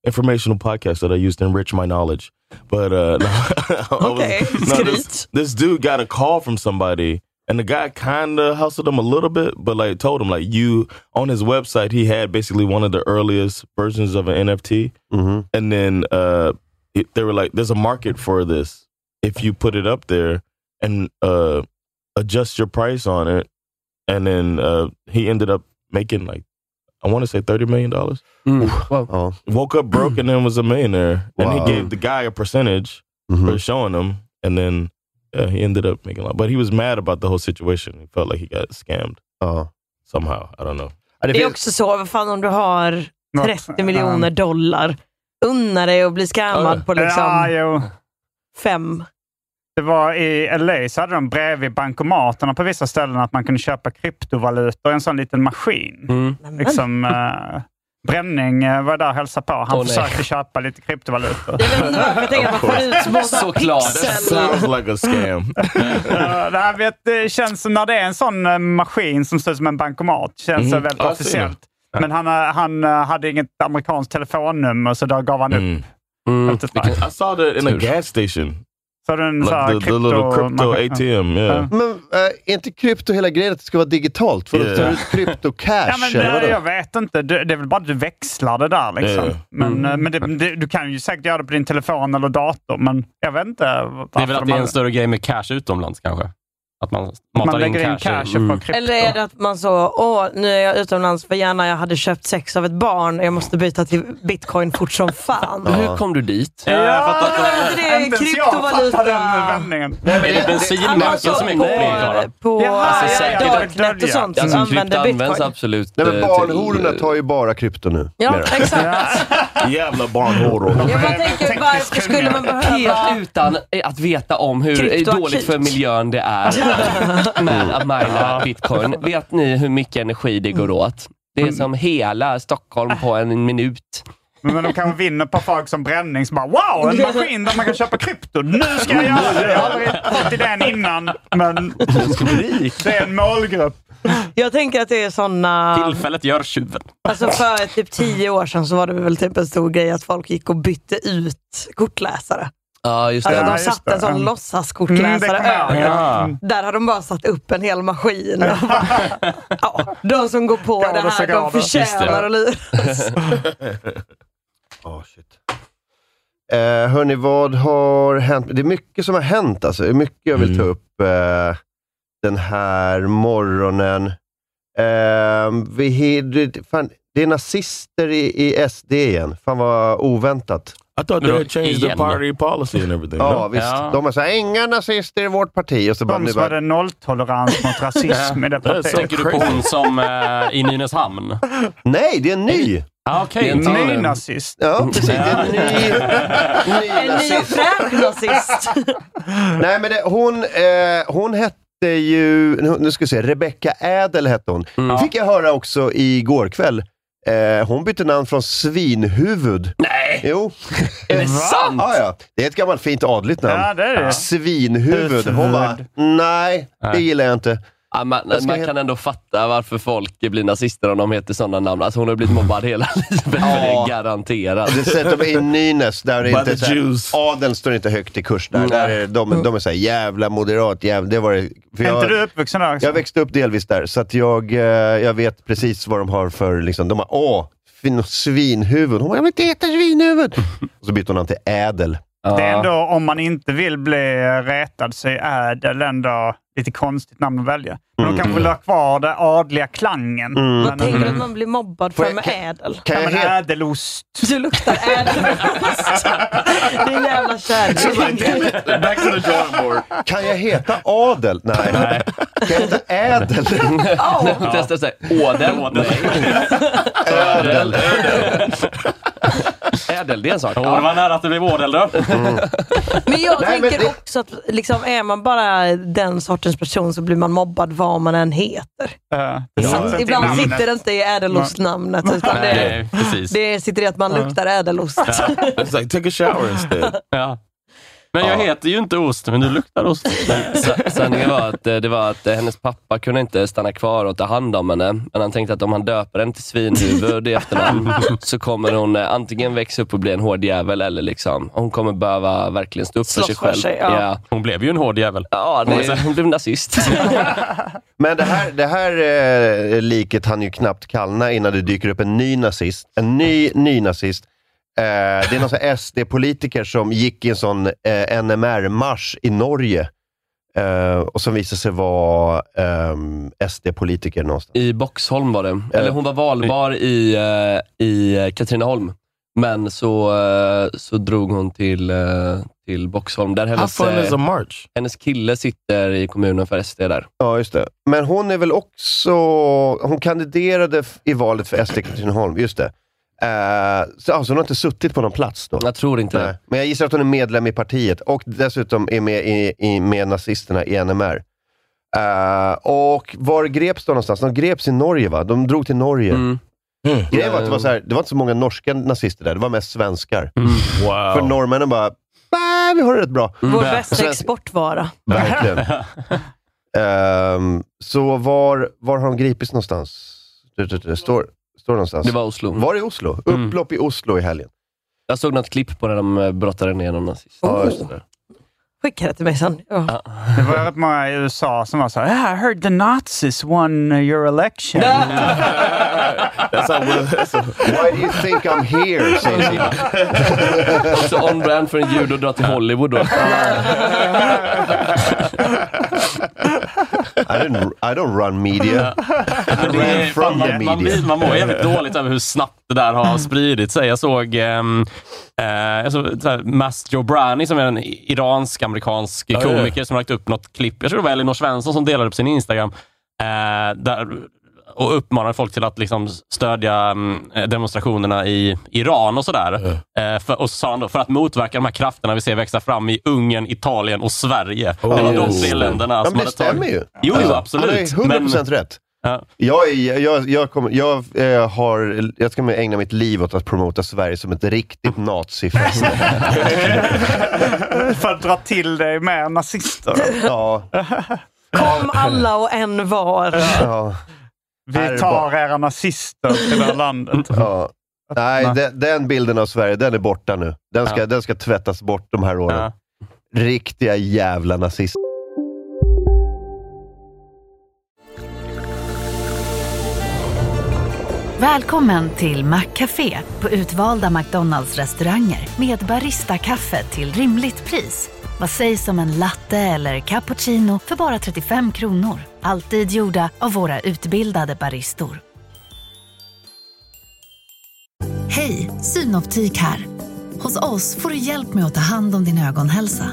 informational podcasts that I used to enrich my knowledge. But uh, no, I was- Okej, this, skryt. this dude got a call from somebody, and the guy kind of hustled him a little bit, but like told him like you on his website he had basically one of the earliest versions of an NFT, Mhm. and then uh, it, they were like, "There's a market for this if you put it up there and uh, adjust your price on it." And then uh, he ended up making like I want to say thirty million dollars. Mm. Wow. Ja. Woke up broke and then was a millionaire, and Wow. he gave the guy a percentage Mhm. for showing him, and then yeah, he ended up making a lot. But he was mad about the whole situation. He felt like he got scammed Ja. somehow. I don't know. Ja, det Det är finns, också så, vad fan om du har Något- 30 miljoner dollar, unna dig att bli Ja. scammad på Ja, ja, liksom jo. fem. Det var i LA så hade de bredvid bankomaterna på vissa ställen att man kunde köpa kryptovalutor i en sån liten maskin. Mm. Nämen. Liksom, eh, Bränning eh, var där och hälsade på. Åh, Han nej. försökte köpa lite kryptovalutor. Jag vet inte varför jag tänker att man får ut små Såklart. pixel. Sounds like a scam. Ja, Eh, det, här vet, det känns som när det är en sån eh, maskin som ser ut som en bankomat. känns det Mhm. väldigt Ja, jag ser officiellt. Men han, eh, han eh, hade inget amerikanskt telefonnummer så då gav han upp. Mm. Mm. efter ett tag. I saw that in Tur. a gas station, Så hade den så här like the, the little crypto kryptomaskin. ATM. Ja. Yeah. men äh, är inte krypto hela grejen att det ska vara digitalt? För Ja. yeah. tar du ut kryptocash? Ja, men eller det, vadå? jag vet inte. Det, det är väl bara att du växlar det där. Liksom. Ja. Mm. Men, eh, men det, det, du kan ju säkert göra det på din telefon eller dator, men jag vet inte. varför Det är väl att de det är hade- en större grej med cash utomlands kanske? Att man matar man in lägger in cash. cash, Mm. på krypto. Eller är det att man så, åh, nu är jag utomlands, vad gärna jag hade köpt sex av ett barn, jag måste byta till bitcoin fort som fan. Hur kom du dit? Ja, jag fattar men inte. Alltså, det är Inte ens jag fattar den kryptovaluta. vändningen. Är det bensinmärken som är kopplingen, Klara? på, på Jaha, alltså, ja, ja, ja. darknet och sånt som Alltså, krypto använder bitcoin. används absolut. Nej, men eh, till- barnhororna tar ju bara krypto nu. Ja, Mera. exakt. Jävla barnhoror. Jag bara tänker, varför skulle man behöva... Helt utan eh, att veta om hur eh, Kryptoakut. dåligt för miljön det är med att mina bitcoin. Vet ni hur mycket energi det Mm. går åt? Det Mm. är som hela Stockholm på en minut. Men de kanske vinner på folk som bränning som bara wow, en maskin där man kan köpa krypto. Nu ska jag göra det. Jag har aldrig fått idén innan, men det är en målgrupp. Jag tänker att det är såna... Tillfället gör tjuven. Alltså för typ tio år sedan så var det väl typ en stor grej att folk gick och bytte ut kortläsare. Ja, just Alltså Ja, det. de just satte en det. sån Mm. låtsaskortläsare Mm, det kommer jag över. ihåg. Ja. Där har de bara satt upp en hel maskin. Och bara, ja, de som går på Galet det så här, de galet. Just förtjänar det. att lira. Oh, shit. Eh, hörni, vad har hänt? Det är mycket som har hänt. Alltså. Det är mycket jag vill Mm. ta upp eh, den här morgonen. Eh, vi, hid- fan, det är nazister i, i SD igen. Fan vad oväntat. I thought they had changed the Igen. party policy and everything. Ja, no? visst. Ja. De är såhär, inga nazister i vårt parti. Och så bara, De nu som bara, hade nolltolerans mot rasism i det Ja, så- partiet. Tänker du på hon som eh, i Nynäshamn? Nej, det är en ny! Ah, Okej. Det är en Ny nazist. Ja, precis. Det är en ny, ny En ny och nazist. fräsch nazist. Nej, men det, hon, eh, hon hette ju, nu nu ska vi se, Rebecca Ädel hette hon. fick jag höra också igår kväll. Eh, hon bytte namn från Svinhuvud. Nej! Jo. Är det sant? Ja, ja. Det är ett gammalt fint adligt namn. Ja, det är det. Svinhuvud. Hon bara, nej, det Nej. gillar jag inte. Ja, man Jag ska man he- kan ändå fatta varför folk blir nazister om de heter sådana namn. Alltså hon har blivit mobbad hela livet. Det Ja. är garanterat. Det sätter mig i Nynäs, där det By inte the så här- Jews. adeln står inte högt i kurs. Där. Mm. där är, de, de är såhär, jävla moderat, jävla... Det var det. För Är jag- inte du uppvuxen där också? Jag växte upp delvis där, så att jag, eh, jag vet precis vad de har för... Liksom, de har åh, fin- svinhuvud. Hon bara, jag vill inte heta svinhuvud. Och så bytte hon namn till ädel. Det är ändå, om man inte vill bli retad så är ädel ändå lite konstigt namn att välja. Men de kanske vill ha kvar den adliga klangen. Vad Men, tänker du att man blir mobbad Får för jag- med ädel? Kan jag men heta... ädelost. Du luktar ädelost. Din jävla kärring. Back to the drawing board. Kan jag heta adel? Nej. Kan jag heta ädel? Ja. Testa sig. Ådel. Ädel. Ädel, det är en sak. Mm. Åh, det var nära att det blev ådel då. Men jag Nej, men tänker det- också att liksom, är man bara den sortens person så blir man mobbad vad man än heter. Eh, det satsar inte i Ibland namnet. sitter det inte i ädelostnamnet utan det, Nej, precis. det sitter i att man luktar ädelost. It's like, take a shower instead. Ja. Men jag heter ju inte ost, men du luktar ost. Men sa- sanningen var att, eh, det var att eh, hennes pappa kunde inte stanna kvar och ta hand om henne. Men han tänkte att om han döper henne till svinhuvud i efternamn så kommer hon eh, antingen växa upp och bli en hård jävel eller liksom, hon kommer behöva verkligen stå upp för Slåss sig för själv. sig, ja. ja. Hon blev ju en hård jävel. Ja, det, hon blev nazist. Men det här, det här eh, liket han ju knappt kallna innan det dyker upp en ny nazist. En ny, ny nazist. Eh, det är någon sån här SD-politiker som gick i en sån eh, NMR-marsch i Norge. Eh, och som visade sig vara ehm, SD-politiker någonstans. Eh, I Boxholm var det. Eller hon var valbar i, eh, i eh, Katrineholm. Men så, eh, så drog hon till, eh, till Boxholm. Där How hennes, fun eh, is a march? hennes kille sitter i kommunen för SD där. Ja, just det. Men hon är väl också... Hon kandiderade f- i valet för SD Katrineholm, just det. Eh, så alltså, hon har inte suttit på någon plats då? Jag tror inte Nej. det. Men jag gissar att hon är medlem i partiet och dessutom är med, i, i, med nazisterna i NMR. Eh, och var greps de någonstans? De greps i Norge va? De drog till Norge. Mm. Grejen var att det, var så här, det var inte så många norska nazister där, det var mest svenskar. Mm. För Wow. norrmännen bara, nej vi har det rätt bra. Vår Mm. bästa Sen- exportvara. Verkligen. Ehm, så var, var har de gripits någonstans? Det- det- det Står, står någonstans. Det var Oslo. var i Oslo. Mm. Upplopp i Oslo i helgen. Jag såg något klipp på när de eh, brottade ner någon nazist. Oh. Ja, just det. Skicka det till mig sen. Ja. Det var rätt många i USA som var så här, yeah, I heard the Nazis won your election. That's how Will, that's a, Why do you think I'm here? säger Simon. Också on-brand för en jude att dra till Hollywood då. I don't, I don't run media. I Men det ran är- from the man, man, media. blir- man mår jävligt dåligt över hur snabbt det där har spridit sig. Jag såg ehm, eh, jag såg så här, Mast Jobrani, som är en iransk-amerikansk ja. komiker, som har lagt upp något klipp. Jag tror det var Elinor Svensson som delade upp sin Instagram. eh, där, och uppmanade folk till att liksom stödja mm, eh, demonstrationerna i Iran och sådär. Eh, för, och så sa han då, för att motverka de här krafterna vi ser växa fram i Ungern, Italien och Sverige. det var de just tre det. länderna Oh. Ja, men hade det tagit- stämmer ju. Jo, jo, Alltså, Han absolut. har ju 100% rätt. Ja. Jag, är- jag, jag, kommer, jag, eh, har, jag ska ägna mitt liv åt att promota Sverige som ett riktigt nazifäste. För att dra till dig med nazister. ja, Kom alla och en var. ja, Vi tar era nazister till det här landet. ja. Nej, de, den bilden av Sverige, den är borta nu. Den ska, Ja. den ska tvättas bort de här åren. Ja. Riktiga jävla nazister. Välkommen till Maccafé på utvalda McDonalds restauranger med Baristakaffe till rimligt pris. Vad sägs om en latte eller cappuccino för bara 35 kronor? Alltid gjorda av våra utbildade baristor. Hej, Synoptik här. Hos oss får du hjälp med att ta hand om din ögonhälsa.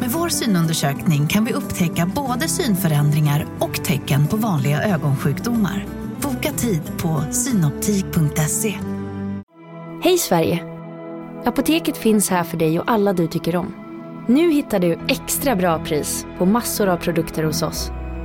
Med vår synundersökning kan vi upptäcka både synförändringar och tecken på vanliga ögonsjukdomar. Boka tid på synoptik.se. Hej Sverige! Apoteket finns här för dig och alla du tycker om. Nu hittar du extra bra pris på massor av produkter hos oss.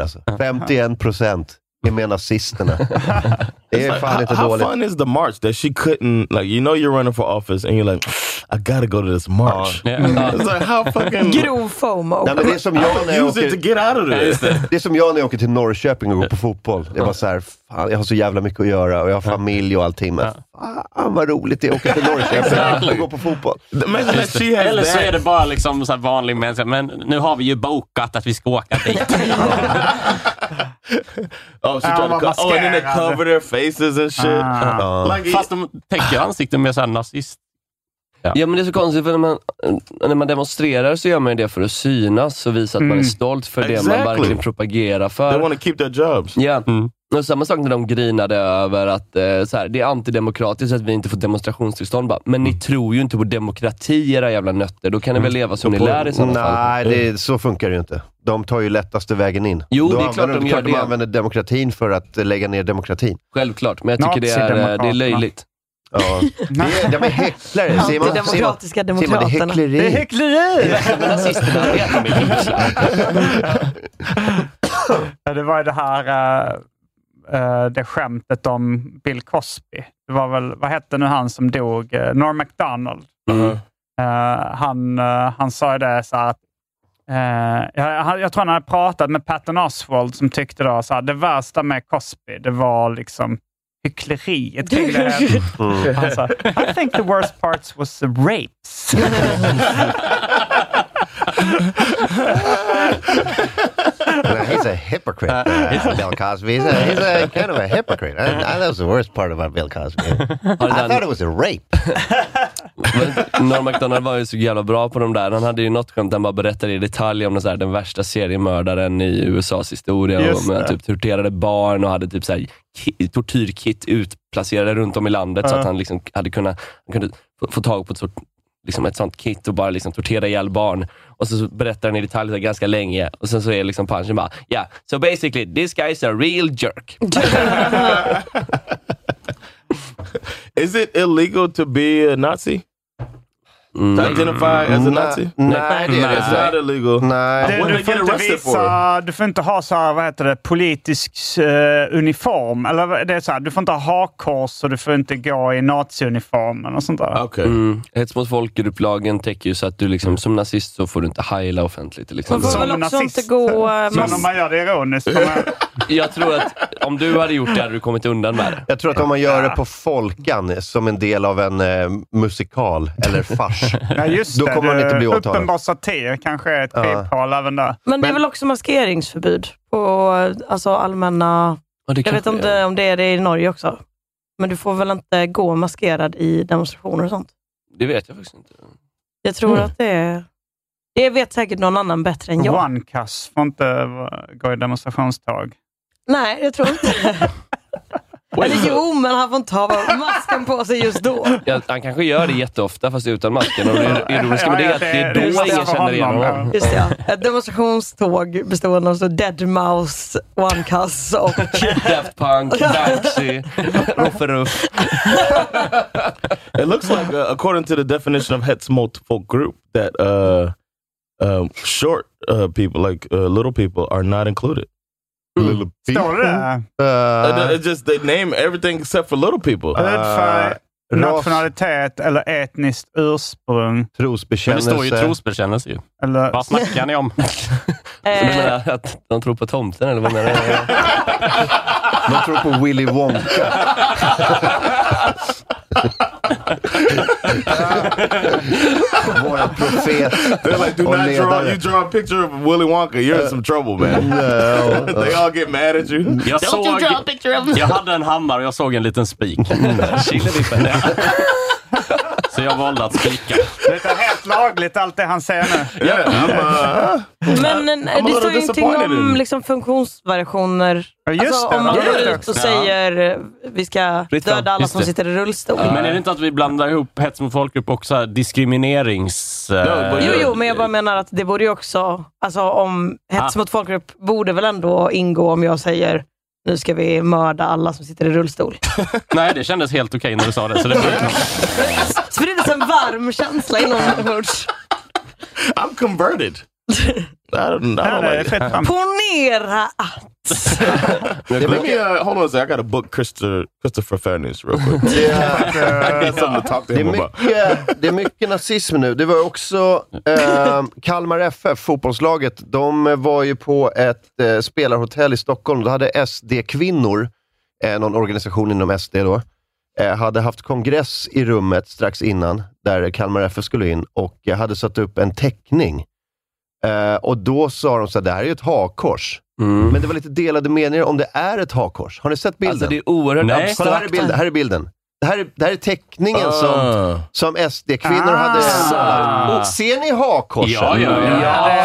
Alltså. 51% är med nazisterna. Det är fan inte how, how dåligt. fun is the march that she couldn't like? You know you're running for office, and you're like, I gotta go to this march. Ja. It's like how fucking Grov FOMO. Nej, men det är som jag när jag use it to åker... get out of this. Det är som jag när jag åker till Norrköping och går på fotboll. Jag bara så här, fan, jag har så jävla mycket att göra och jag har familj och allting. Men fan vad roligt det är att åka till Norrköping och gå på fotboll. Imagine that she has Eller så är that. det bara liksom så här vanlig människa, men nu har vi ju bokat att vi ska åka dit. Oh, she tried Ah, to mama co- oh, and then they scared. cover their faces and shit. Uh-huh. Ah. Like, Fast de täcker ansikten med så här nazist. Ja, men det är så konstigt, för när man, när man demonstrerar så gör man ju det för att synas och visa att man är stolt för det man Exactly. verkligen propagerar they för. want to keep their jobs. Ja. Mm. Och samma sak när de grinade över att eh, så här, det är antidemokratiskt att vi inte får demonstrationstillstånd. Bara, men ni tror ju inte på demokrati era jävla nötter. Då kan ni väl leva som ni På- lär i sådana Mm. Nej, fall. det, så funkar det ju inte. De tar ju lättaste vägen in. Jo, Då det är klart använder, de gör de det. använder demokratin för att eh, lägga ner demokratin. Självklart, men jag tycker det är, eh, det är löjligt. Ja. Det är, de är häcklare. Simon, Antidemokratiska Simon, Simon, det är demokraterna. hyckleri. Det är hyckleri! Ja, det var ju det här eh, eh, det skämtet om Bill Cosby. Det var väl, vad hette nu han som dog? Eh, Norm Macdonald. Uh-huh. Eh, han, eh, han sa ju det så här att eh, jag, han- jag tror han hade pratat med Patton Oswald som tyckte då så här, det värsta med Cosby, det var liksom hyckleriet kring det. Han sa, I think the worst parts was the rapes. No, he's a hypocrite, uh, Bill Cosby. He's a, he's a kind of a hypocrite. I, I, that was the worst part about Bill Cosby. I thought it was a rape. Men Norm Macdonald var ju så jävla bra på de där. Han hade ju något skämt där han bara berättade i detalj om den, så här, den värsta seriemördaren i USAs historia. Just och med, det. typ torterade barn och hade typ så här, ki- tortyrkit utplacerade runt om i landet så Ja. att han liksom hade kunnat han kunde få, få tag på ett, sort, liksom ett sånt kit och bara liksom tortera ihjäl barn. Och så så berättar han i detalj så här, ganska länge och sen så är liksom punchen bara yeah, so basically this guy is a real jerk. Is it illegal to be a Nazi? To identify as a Nazi? Nej, det är det It's not inte. illegal. Nej. What they Du, du, får get inte arrested for? visa, du får inte ha så här, vad heter det, politisk eh, uniform. Eller vad- det är så här, du får inte ha hakkors och du får inte gå i naziuniform eller något sånt där. Okay. Mm. Hets mot folkgrupp-lagen täcker ju så att du liksom, som nazist så får du inte heila offentligt liksom. till Man exempel. får väl också inte gå... eh, Men om mass- man gör det ironiskt. får Man, Jag tror att om du hade gjort det hade du kommit undan med det. Jag tror att om man gör det på Folkan som en del av en eh, musikal eller fars, ja, just då det, kommer man det- inte bli åtalad. Uppenbar satir kanske är ett Ja. kryphål även där. Men det är Men- väl också maskeringsförbud på eh, alltså, allmänna... Ja, det Jag vet kanske är. inte om det är det i Norge också. Men du får väl inte gå maskerad i demonstrationer och sånt. Det vet jag faktiskt inte. Jag tror Mm. att det är... Det vet säkert någon annan bättre än jag. Onecuss får inte va- gå i demonstrationståg. Nej, jag tror inte Eller jo, men han får inte ha masken på sig just då. Ja, han kanske gör det jätteofta fast utan masken. Och det ironiska med det är att det är då ingen känner igen honom. Just det, ja. Ett demonstrationståg bestående av så deadmau5, onecuss och... Daft Punk, Banksy, Roffe Ruff. It looks like, uh, according to the definition of Hetz mot folk group, that uh, um, short uh, people, like uh, little people, are not included. Little Står det Eh, där? Uh, no, Uh, it's just they name everything except for little people. Hudfärg, eh, ras, nationalitet eller etniskt ursprung. Men det står ju trosbekännelse. trosbekännelse ju. Eller Vad snackar ni om? Så du Eh, menar att de tror på tomten eller vad menar du? De tror på Willy Wonka. Våra profet They're like, do och not draw. You ledare. draw a picture of Willy Wonka, you're in some trouble, man. they all get mad at you. Jag, såg, jag hade en hammare och jag såg en liten spik. Killevippen. Så jag valde att spika. det är helt lagligt allt det han säger nu. Yeah, I'm, uh, men I'm en- a eh, det little står ju ingenting disappointed om in- liksom, funktionsvariationer. Ja, just alltså, det, om man det var det går ut också. och säger eh, vi ska Rittan, döda alla just som det. sitter i rullstol. Men är det inte att vi blandar ihop hets mot folkgrupp och så här diskriminerings... eh, but- Jo, jo, men jag bara menar att det borde ju också, alltså om hets Ah. mot folkgrupp borde väl ändå ingå om jag säger nu ska vi mörda alla som sitter i rullstol. Nej, det kändes helt okej när du sa det. Så det var- Sprider sig en varm känsla inombords. I'm converted. I don't, I Ja, don't det är like it. fritt fram. Ponera att... Let me, uh, hold on a second. I got to book Christopher, Christopher Fairness real quick. I got something to talk to Det är, him about. mycket, det är mycket nazism nu. Det var också eh, Kalmar FF, fotbollslaget. De var ju på ett eh, spelarhotell i Stockholm. Då hade SD-kvinnor, eh, någon organisation inom SD då, eh, hade haft kongress i rummet strax innan, där Kalmar FF skulle in, och eh, hade satt upp en teckning. Eh, och då sa de så här, det här är ju ett hakkors. Mm. Men det var lite delade meningar om det är ett hakkors. Har ni sett bilden? Alltså det är oerhört Nej. Kolla, här är abstrakt. bilden. Här är bilden. Det här, är- det här är teckningen Ah. som, som SD-kvinnor hade. Ah. Och ser ni Mm. hakkorset? Ja, ja, ja. Ja,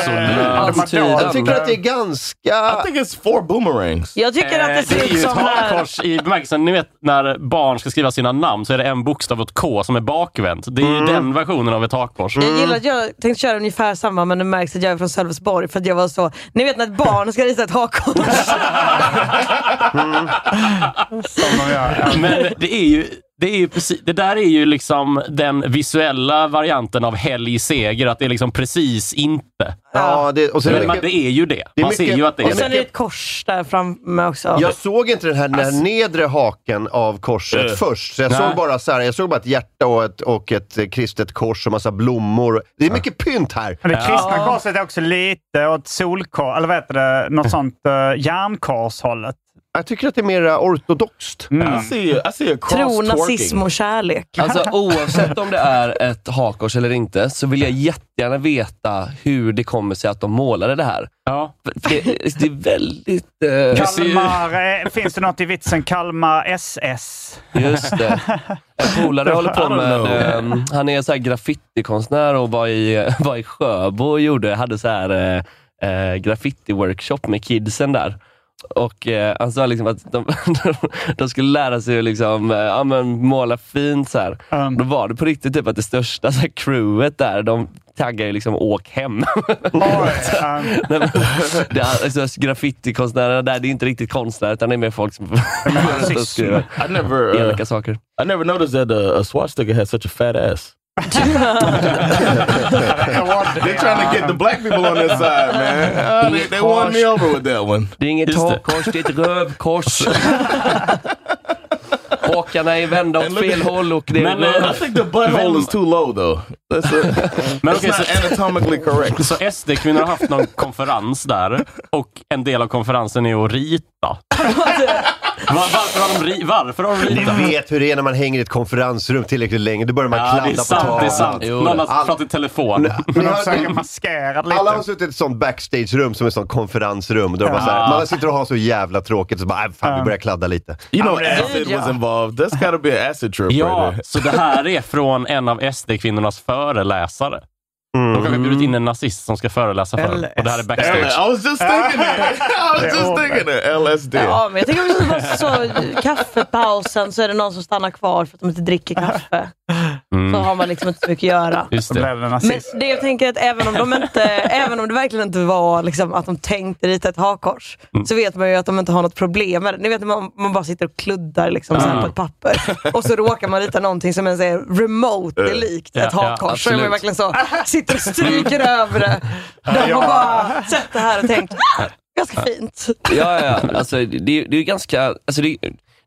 absolut. Antydan. Jag tycker att det är ganska... I think it's four boomerangs. Jag tycker att det Eh, ser är ut ju som... ett den här- hakkors i bemärkelsen, ni vet när barn ska skriva sina namn så är det en bokstav och ett K som är bakvänt. Det är ju den versionen av ett hakkors. Mm. Jag gillar att jag tänkte köra ungefär samma men det märks att jag är från Sölvesborg för att jag var så, ni vet när ett barn ska rita ett hakkors. Men det är ju... Det, är ju precis, det där är ju liksom den visuella varianten av helg seger, att det är liksom precis inte. Ja, det, och sen är Men det man, mycket- det är ju det. det är Man ser mycket- ju att det Och är sen är det. det ett kors där framme också. Alltså, Jag såg inte den här, den här nedre haken av korset Eh. först. Så jag, Nej. såg bara så här, jag såg bara ett hjärta och ett, och ett eh, kristet kors och massa blommor. Det är mycket pynt här. Men det kristna korset är också lite åt solkors, eller vad heter det, något sånt uh, järnkorshållet. Mm. Jag tycker att det är mera ortodoxt. I see a, I see a cross Tro, nazism twerking. och kärlek. Alltså oh, oavsett om det är ett hakkors eller inte, så vill jag jättegärna veta hur det kommer sig att de målade det här. Ja. För- för Det, det är väldigt... eh, Kalmar, eh, finns det något i vitsen Kalmar SS? Just det. En polare håller på med... know. ehm, han är så här graffitikonstnär och var i, var i Sjöbo och gjorde, hade så här eh, eh, graffiti-workshop med kidsen där. Och eh, Han sa liksom att de, de skulle lära sig att liksom, eh, ja, men måla fint. Så här. Um. Mm. Då var det på riktigt typ att det största så här, crewet där, de taggar ju liksom åk hem. Um, Nej, men, det är, alltså, graffitikonstnärerna där, det är inte riktigt konstnärer utan det är mer folk som går runt och skriver I never, uh, elaka saker. I never noticed that uh, a, a swastika had such a fat ass. They're trying to get the black people on their side, man. Uh, they, they won me over with that one. Det är inget Just det. hakkors, det är ett rövkors. Hakarna är vända åt fel håll och det är eh, Men, röv. I think the butthole is too low, though. That's, a, that's okay, not so- anatomically correct. Så SD-kvinnor har haft någon konferens där och en del av konferensen är att rita. Var, varför, har de ri, varför har de ritat? Ni vet hur det är när man hänger i ett konferensrum tillräckligt länge. Då börjar man Ja, det är kladda på sant. tavlan. Det är sant. Jo, Någon har all- pratat i telefon. Ni de har- försöker maskera det lite. Alla har suttit i ett sånt backstage-rum som ett sånt konferensrum. Då är man, så här, man sitter och har så jävla tråkigt så bara, "Aj, fan vi börjar kladda lite. You know, I'm an acid was involved. That's got to be an acid trip Ja, right there. så det här är från en av SD-kvinnornas föreläsare. Mm. De kanske bjudit in en nazist som ska föreläsa för dem. Och det här är Damn it, backstage. I was just thinking that. I was just thinking that. LSD. Ja, men jag tänker också bara så, kaffepausen så är det någon som stannar kvar för att de inte dricker kaffe. Mm. Så har man liksom inte så mycket att göra. Just Så det. blev det Men nazist. det jag tänker är att även om, de inte, även om det verkligen inte var liksom att de tänkte rita ett hakkors, så vet man ju att de inte har något problem med det. Ni vet när man, man bara sitter och kluddar liksom, så här på ett papper och så råkar man rita någonting som ens är remote är likt ett Ja, ja, hakkors. så är man absolut. verkligen så, sitter och stryker över det. De har bara sett det här och tänkt, "Ah, ganska fint. Ja, ja, ja. Alltså, det, det är ju ganska... Alltså, det,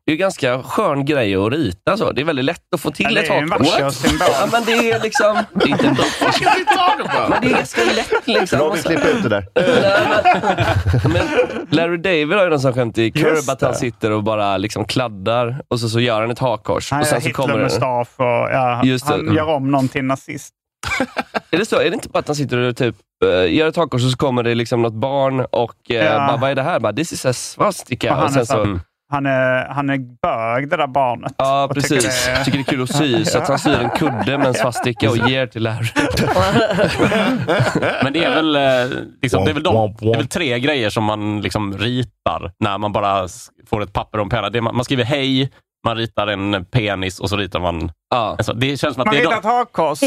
det är ju ganska skön grej att rita. Så. Det är väldigt lätt att få Ja, till det ett är ju en hakkors. vacker symbol. Ja, men det är liksom... Det är inte en vacker What are you talking about? Men det är ganska lätt liksom. Robin, klipp ut det där. Men Larry David har ju någon sån skämt i Just Curb att han det. sitter och bara liksom kladdar och så, så gör han ett hakkors. Han Och sen gör så kommer det. Hitlermustasch och ja, Just det. Mm. han gör om någon till nazist. Är det så? Är det inte bara att han sitter och typ eh, gör ett hakkors och så kommer det liksom något barn och uh, Ja. bara, vad är det här? Bara, This is a swastika. Och han Och sen är så- så, Han är, han är bög det där barnet. Ja, Och tycker precis. det Tycker det... är är- kul att sy, så att han syr en kudde med en svastika och ger till Larry. Men det är väl, eh, liksom, det är väl, de, Womp, womp, det är väl womp. tre grejer som man liksom ritar när man bara s- får ett papper och en penna. Det är Man man skriver hej, man ritar en penis och så ritar man... Ja. Alltså, det känns som att Man det är ritar de... ett hakkors.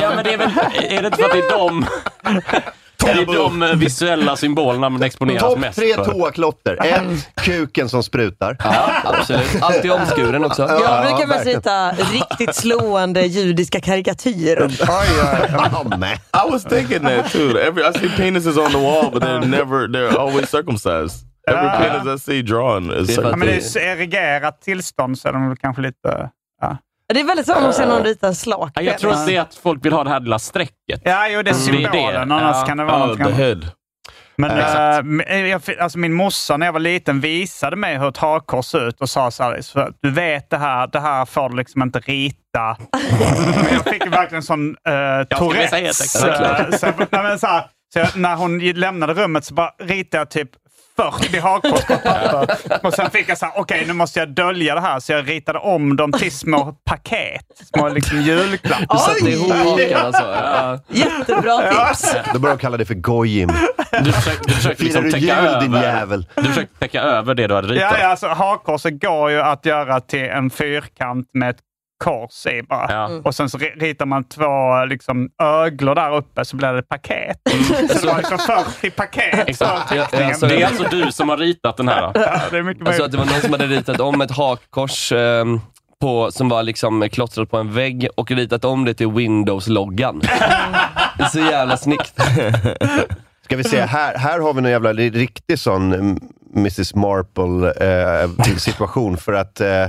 Ja, men det är väl... Är det inte för att det är de... Det är de eh, visuella symbolerna man exponeras Topp mest tre för. toaklotter. Ett, kuken som sprutar. Ja, absolut. Alltid omskuren också. Jag brukar mest verkligen. rita riktigt slående judiska karikatyrer. Oh, Ja, men. I was thinking that too. Every I see penises on the wall, but they're never. They're always circumcised. Every penis I see drawn Ah. If is I Ja, circumcised. men det är så erigerat tillstånd så är de väl kanske lite... Ja, Det är väldigt svårt att se någon rita en slak. Ja, Jag tror att det är att folk vill ha det här lilla strecket. Mm. ja jo, det är symbolen. Det är det. Annars Ja. kan det vara Oh, något the annat. head. Men, Ja, eh, jag, fi- alltså min morsa när jag var liten visade mig hur ett hakkors såg ut och sa så här, "Så du vet det här, det här får du liksom inte rita. men jag fick ju verkligen sån eh, ska visa helt Tourettes. exakt. eh, så, jag- nej, men så, här, så jag, när hon lämnade rummet så bara ritade jag typ 40 hakkors på ett papper. Och sen fick jag så här, okej nu måste jag dölja det här. Så jag ritade om dem till små paket. Små liksom julklappar. Du satte ihop hakan alltså. Ja. Jättebra tips. Då börjar de kalla dig för Gojim. Du försökte, du försökte Firar liksom du täcka jul din över. jävel? Du försökte täcka över det du hade ritat. Ja, ja, alltså hakkorset går ju att göra till en fyrkant med ett kors i bara. Ja. Mm. Och sen så ri- ritar man två liksom, öglor där uppe så blir det ett paket. Så det var liksom 40 paket. Exakt. för Ja, ja, teckningen. så- Det är alltså du som har ritat den här. Ja, det är mycket Jag möjligt. såg att det var någon som hade ritat om ett hakkors ehm, på, som var liksom klottrat på en vägg och ritat om det till Windows-loggan. Det är Så jävla snyggt. Ska vi se, här, här har vi någon jävla ri- riktig sån mm, Mrs Marple-situation. eh, för att eh,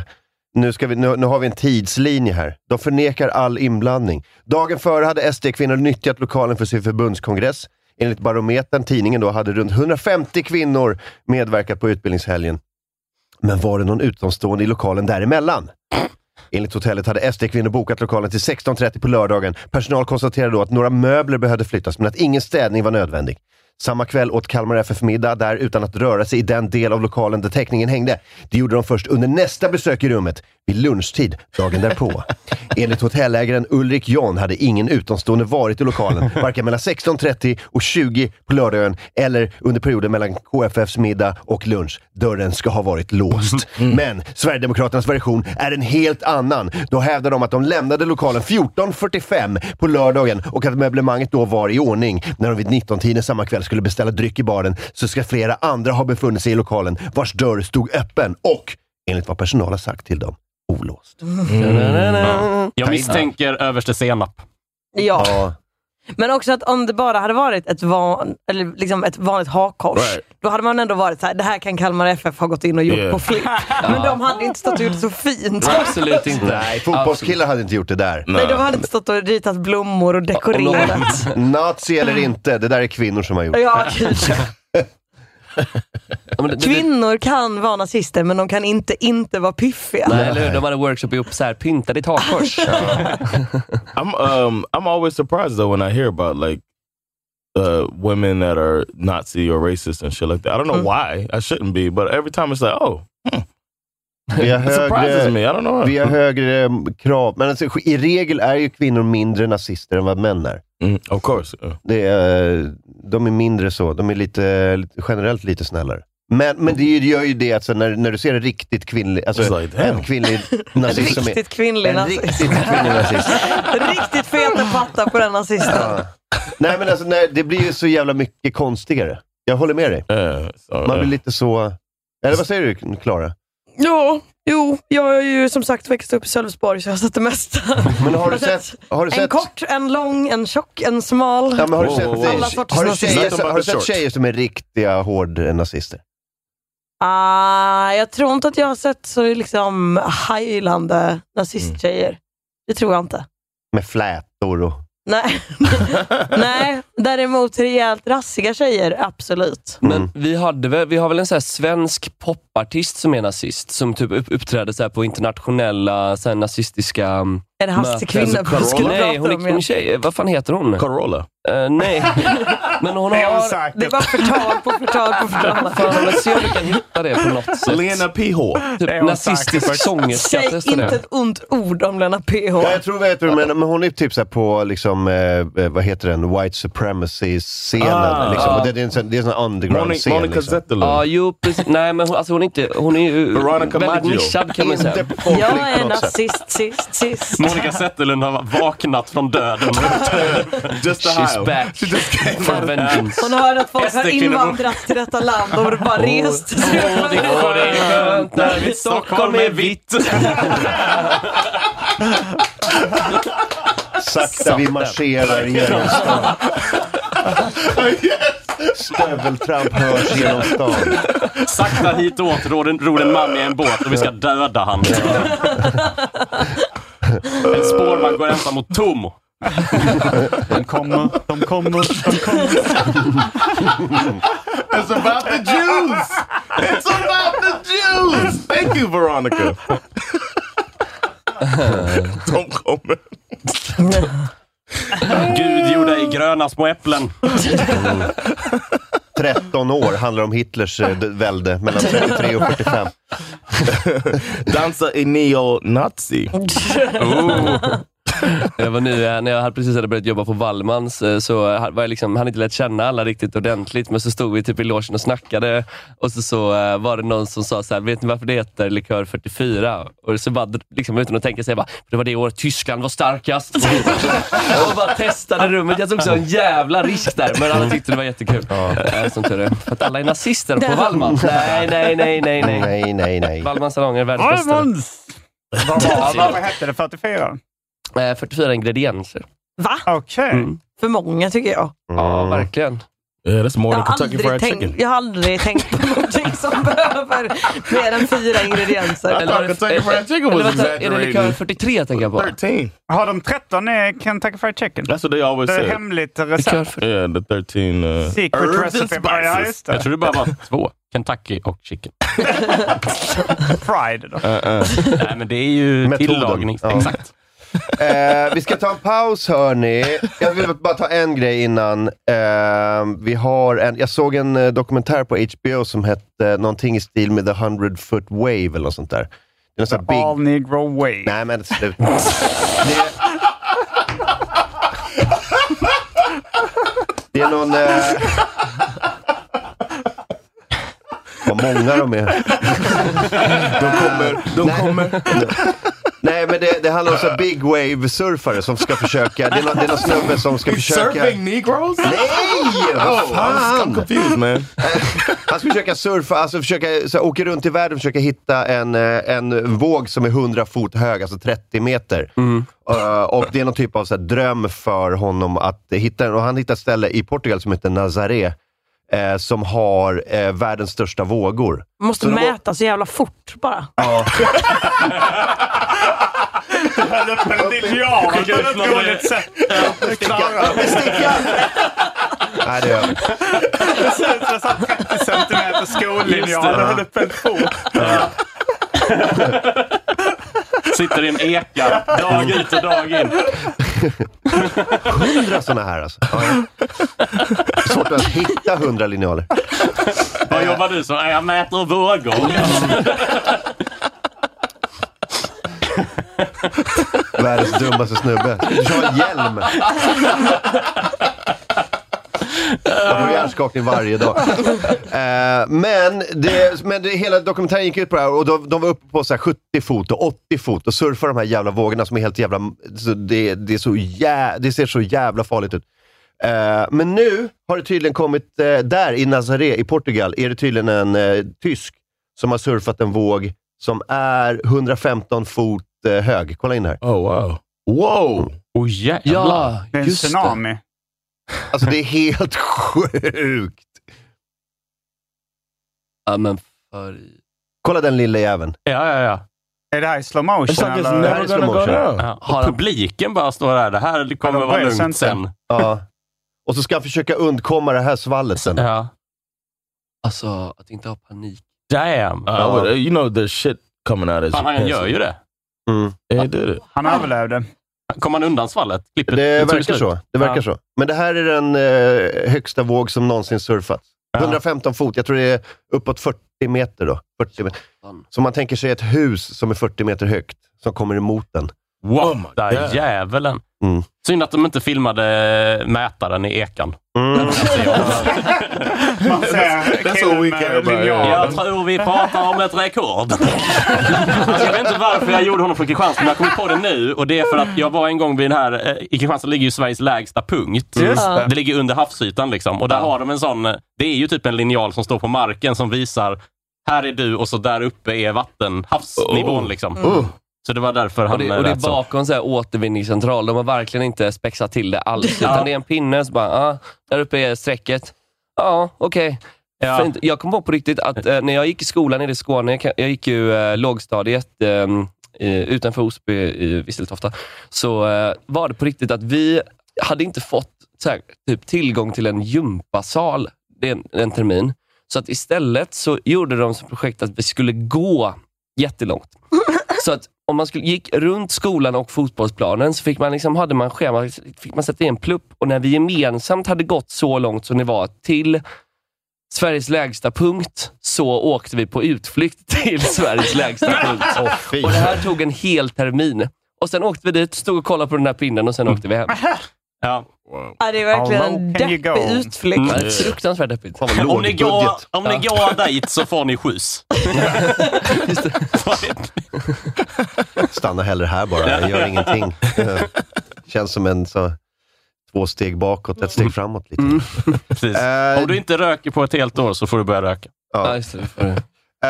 nu, ska vi, nu, nu har vi en tidslinje här. De förnekar all inblandning. Dagen före hade SD-kvinnor nyttjat lokalen för sin förbundskongress. Enligt Barometern, tidningen då, hade runt 150 kvinnor medverkat på utbildningshelgen. Men var det någon utomstående i lokalen däremellan? Enligt hotellet hade SD-kvinnor bokat lokalen till 16.30 på lördagen. Personal konstaterade då att några möbler behövde flyttas, men att ingen städning var nödvändig. Samma kväll åt Kalmar FF middag där utan att röra sig i den del av lokalen där teckningen hängde. Det gjorde de först under nästa besök i rummet, vid lunchtid dagen därpå. Enligt hotellägaren Ulrik John hade ingen utomstående varit i lokalen, varken mellan 16.30 och 20 på lördagen eller under perioden mellan KFFs middag och lunch. Dörren ska ha varit låst. Men Sverigedemokraternas version är en helt annan. Då hävdar de att de lämnade lokalen 14.45 på lördagen och att möblemanget då var i ordning. När de vid 19-tiden samma kväll skulle beställa dryck i baren så ska flera andra ha befunnit sig i lokalen vars dörr stod öppen och, enligt vad personal har sagt till dem, olåst. Mm. Ja. Jag misstänker överste Senap. Ja. Ja. Men också att om det bara hade varit ett, van, eller liksom ett vanligt hakkors, Right. då hade man ändå varit så här: det här kan Kalmar FF ha gått in och gjort Yeah. på flipp. Men de hade inte stått och gjort så fint. Absolut inte. Nej, fotbollskillar hade inte gjort det där. Nej, de hade inte stått och ritat blommor och dekorerat. Nazi eller inte, det där är kvinnor som har gjort. Ja, gud. Ja, men det- det- Kvinnor kan vara nazister, men de kan inte inte vara piffiga. Nej, eller hur? De hade workshop ihop så här, pynta ditt hakkors. I'm um I'm always surprised though when I hear about like uh women that are Nazi or racist and shit like that. I don't know why I shouldn't be, but every time it's like, oh, Vi har it surprises högre, me. I don't know. vi har högre mm, krav. Men alltså, i regel är ju kvinnor mindre nazister än vad män är. Mm, of course. Uh, Det är, de är mindre så. De är lite, lite- generellt lite snällare. Men, men det är ju- det gör ju det att så när, när du ser en riktigt kvinnlig, alltså It's like, damn. en kvinnlig nazist som är... Riktigt kvinnlig En nazist. riktigt kvinnlig nazist. Riktigt feta pattar på den nazisten. Nej men alltså, nej, det blir ju så jävla mycket konstigare. Jag håller med dig. yeah, so, Man yeah. blir lite så... Eller vad säger du, Klara? Ja, jo, jag är ju som sagt växt upp i Sölvesborg så jag har sett det mesta. Men har du Jag har sett... Har du En sett kort, en lång, en tjock, en smal. Ja, men har, Wow, du sett, wow, wow. Alla sorters har, du nazister. tjejer, Nothing som, but har du the sett short. tjejer som är riktiga eh, hårdnazister? Ah, jag tror inte att jag har sett så liksom hajlande Mm. nazisttjejer. Det tror jag inte. Med flätor och... Nej. Nej, däremot rejält rassiga tjejer, absolut. Mm. Men vi, hade väl, vi har väl en så här svensk popartist som är nazist, som typ upp, uppträder så här på internationella så här nazistiska... mm, Är det Hasse möten. Kvinna Alltså, vi skulle Nej, hon prata om är en igen? tjej. Vad fan heter hon? Corolla. Eh, nej, men hon Det är har... osäkert. Det var förtal på förtal på förtal. Fan, men se om du kan hitta det på något sätt. Lena Pihl. typ är hon nazistisk säkert. sångerska. Säg Testa inte det. ett ont ord om Lena PH. Ja, jag tror jag vet vad du menar, men hon är typ så här på, liksom, eh, eh, vad heter den, white supremacy-scenen. Ah. liksom. Och det, det är en sån, det är en sån Monica, underground-scen. Monica Liksom. Zetterlund. Ah, Ja, jo precis. Nej, men hon, alltså hon är inte... Hon är ju Veronica väldigt Maggio. nischad kan man säga. Inte på Jag konflikt är på något sätt. nazist, sist, sist. Monica Zetterlund har vaknat från döden. Just a She's high. back for vengeance. Hon hörde att folk har SD-kvinnor. invandrat till detta land och bara rest sig upp. det går det är skönt när mitt Stockholm är vitt. Sakta vi marscherar genom stan. Stöveltramp hörs genom stan. Sakta hitåt ror en, ror en man i en båt och vi ska döda han. En spårvagn går ensam mot Tomo. De kommer, de kommer, de kommer. It's about the Jews. It's about the Jews. Thank you, Veronica. Don't comment. Gud gjorde i gröna små äpplen. 13 år handlar om Hitlers eh, d- välde mellan 33 och 45. Dansa i neo-nazi. Jag var ny här, när jag hade precis hade börjat jobba på Wallmans eh, så eh, var jag liksom, han inte lärt känna alla riktigt ordentligt, men så stod vi typ i logen och snackade och så, så eh, var det någon som sa så här, vet ni varför det heter likör 44? Och så bara, liksom, utan att tänka sig, jag bara, för det var det året Tyskland var starkast. och bara testade rummet. Jag tog så en jävla risk där, men alla tyckte det var jättekul. Ja. Som tur är. För att alla är nazister på Wallmans. Nej, nej, nej, nej. nej. Nej, nej, nej. Wallmans salonger är världens bästa. Almonds! Vad var- Vad hette det? 44? Eh, 44 ingredienser. Va? Okej. Mm. För många tycker jag. Ja, verkligen. Yeah, that's more Jag than har, Kentucky Fried aldrig Chicken. tänkt, jag har aldrig tänkt på någonting som behöver mer än fyra I ingredienser. thought Kentucky Fried Chicken was Eller vänta, är det likör exaggerating. 43 tänker jag på? 13. Har de 13 i Kentucky Fried Chicken? That's what they always Det är say. hemligt Likör recept. 43. Yeah, the 13 uh, Secret herbs and recipe. Ja, spices. just Jag det. tror det bara var två. Kentucky och chicken. Fried Uh, då. Nej, men det är ju Metoden. tillagning. Ja. Exakt. Eh, vi ska ta en paus hörni. Jag vill bara ta en grej innan. Eh, vi har en, jag såg en eh, dokumentär på HBO som hette eh, någonting i stil med The 100 Foot Wave eller något sånt där. Det är någon sån här big... All negro way. Nej men sluta. Det... det är någon... Eh... Vad många de är. De kommer, de kommer. Nej, men det, det handlar om så här big wave-surfare som ska försöka. Det är någon, det är någon snubbe som ska försöka... Surfing Negroes? Nej! Vad Oh, I'm fan! confused man. Han ska försöka surfa, alltså försöka så här, åka runt i världen och försöka hitta en, eh, en våg som är 100 fot hög, alltså 30 meter. Mm. Eh, och det är någon typ av så här, dröm för honom att hitta den. Och han hittar ett ställe i Portugal som heter Nazaré, eh, som har eh, världens största vågor. Måste Så de- mäta så jävla fort bara. Dåligt sätt. Nej, det är över. Det ser ut som en sån 30 centimeter skollinjal och höll upp en fot. Sitter i en eka dag ut och dag in. hundra sådana här alltså. Ja, ja. Svårt att ens hitta hundra linjaler. Vad jobbar du som? "Nej, Jag mäter vågor. Eh, Världens dummaste snubbe. Du kör en hjälm. Jag får hjärnskakning varje dag. Eh, men det, men det, hela dokumentären gick ut på det här och de, de var uppe på så här 70 fot och 80 fot och surfar de här jävla vågorna som är helt jävla... Så det, det, är så jä, det ser så jävla farligt ut. Eh, men nu har det tydligen kommit, eh, där i Nazaré i Portugal, är det tydligen en eh, tysk som har surfat en våg som är 115 fot eh, hög. Kolla in här. Oh wow. Wow! Åh jävlar. Ja, Det är en just det. tsunami. Alltså det är helt sjukt. Ja, men för... Kolla den lilla jäveln. Ja, ja, ja. Är det här i slow motion? It's Eller? never gonna go down. ja. Och publiken bara står där. Det här kommer Ja, de vara börjar lugnt sen. sen. Ja. Och så ska han försöka undkomma det här svallet sen. Ja. Alltså, att inte ha panik. Damn. I would, uh, you know there's shit coming out of his Fan, han pants. gör ju det. Mm. Yeah, he did it. Han överlevde. Kom han undan svallet? Klippet Det tog verkar slut. så. Det verkar Ja. så. Men det här är den eh, högsta våg som någonsin surfats. Ja. 115 fot. Jag tror det är uppåt 40 meter då. 40 meter. Fan. Så man tänker sig ett hus som är 40 meter högt, som kommer emot den. What my the God. djävulen. Mm. Synd att de inte filmade mätaren i ekan. Alltså, Mm. Man ser that's killen what we med care about, linjal. yeah. Jag tror vi pratar om ett rekord. Alltså, jag vet inte varför jag gjorde honom från Kristianstad, men jag kom på det nu. Och det är för att jag var en gång vid den här... eh, I Kristianstad ligger ju Sveriges lägsta punkt. Mm. Just det. Det ligger under havsytan liksom. Och där har de en sån... eh, Det är ju typ en linjal som står på marken som visar här är du och så där uppe är vatten, havsnivån Oh. liksom. Oh. Så det var därför han Och det, och det är lät så. bakom så här återvinningscentral. De har verkligen inte spexat till det alls. Utan det är en pinne som bara, ah, där uppe är strecket. Ja, okej. Ja. Fint. Jag kom på på riktigt att eh, när jag gick i skolan nere i Skåne, jag, kan- jag gick ju eh, lågstadiet ehm, i- utanför Osby i Visseltofta, så eh, var det på riktigt att vi hade inte fått så här, typ, tillgång till en gympasal det är en, en termin. Så att istället så gjorde de som projekt att vi skulle gå jättelångt. Så att om man skulle, gick runt skolan och fotbollsplanen så fick man liksom, hade man schema, fick man sätta i en plupp och när vi gemensamt hade gått så långt som det var till Sveriges lägsta punkt, så åkte vi på utflykt till Sveriges lägsta punkt. och det här tog en hel termin. Och Sen åkte vi dit, stod och kollade på den här pinnen och sen åkte vi hem. Ja. Ja, det är verkligen Mm. How low Oh, en can you deppig go? utflykt. Mm. Det är Fruktansvärt deppigt. Om ni, går, om ni går dit så får ni skjuts. Stanna hellre här bara, jag gör ingenting. Eh, Känns som en så, två steg bakåt, ett steg framåt. Lite. Precis. Om du inte röker på ett helt år så får du börja röka. Ja. Ehm,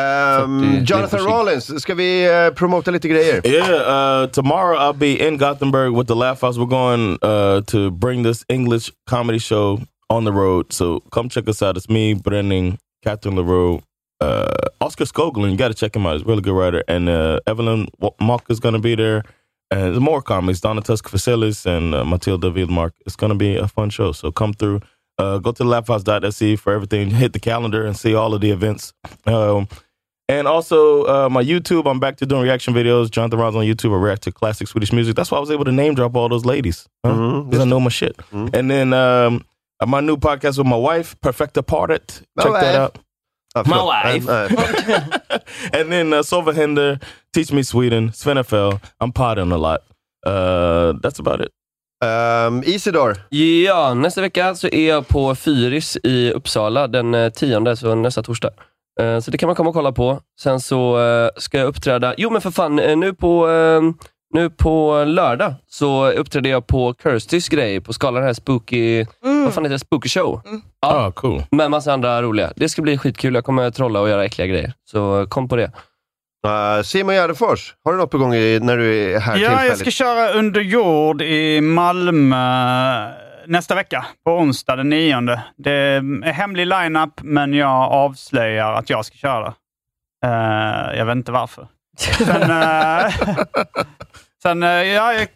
det är Jonathan försiktigt. Rollins, ska vi eh, promota lite grejer? Yeah, uh, tomorrow I'll be in Gothenburg with the Laugh House. We're going uh, to bring this English comedy show on the road. So come check us out. It's me, Brennan, Catherine LaRue, uh, Oscar Skoglund. You got to check him out. He's a really good writer. And uh, Evelyn Wa- Mock is going to be there. And there's more comics. Donna Tusk Facilis and uh, Matilda Vildmark. It's going to be a fun show. So come through. Uh, go to laughhouse.se E for everything. Hit the calendar and see all of the events. Um, and also uh, my YouTube, I'm back to doing reaction videos. Jonathan Rollins on YouTube, I react to classic Swedish music. That's why I was able to name drop all those ladies because Mm-hmm. I know my shit. And then um, uh, my new podcast with my wife, Perfecta Parted. My Check that wife. out. Ah, my förlåt. wife. Eh, nej. and then uh, Sova Hinder, Teach Me Sweden, Svenafell. I'm potting a lot. Uh, that's about it. Um, Isidor. Ja, nästa vecka så är jag på Fyris i Uppsala den eh, tionde, så nästa torsdag. Eh, Så det kan man komma och kolla på. Sen så eh, ska jag uppträda... Jo, men för fan. eh, Nu på, eh, nu på lördag så uppträder jag på Kirstys grej på skalan här, Spooky... Vad fan heter det? Spooky Show. Ja, ah, cool. Med massa andra roliga. Det ska bli skitkul. Jag kommer att trolla och göra äckliga grejer. Så eh, kom på det. Eh, Simon Gärdenfors, har du något på gång i, när du är här Ja, jag tillfälligt? ska köra under jord i Malmö nästa vecka, på onsdag den 9. Det är hemlig line-up, men jag avslöjar att jag ska köra. Eh, jag vet inte varför. Sen, eh, sen eh, ja, jag,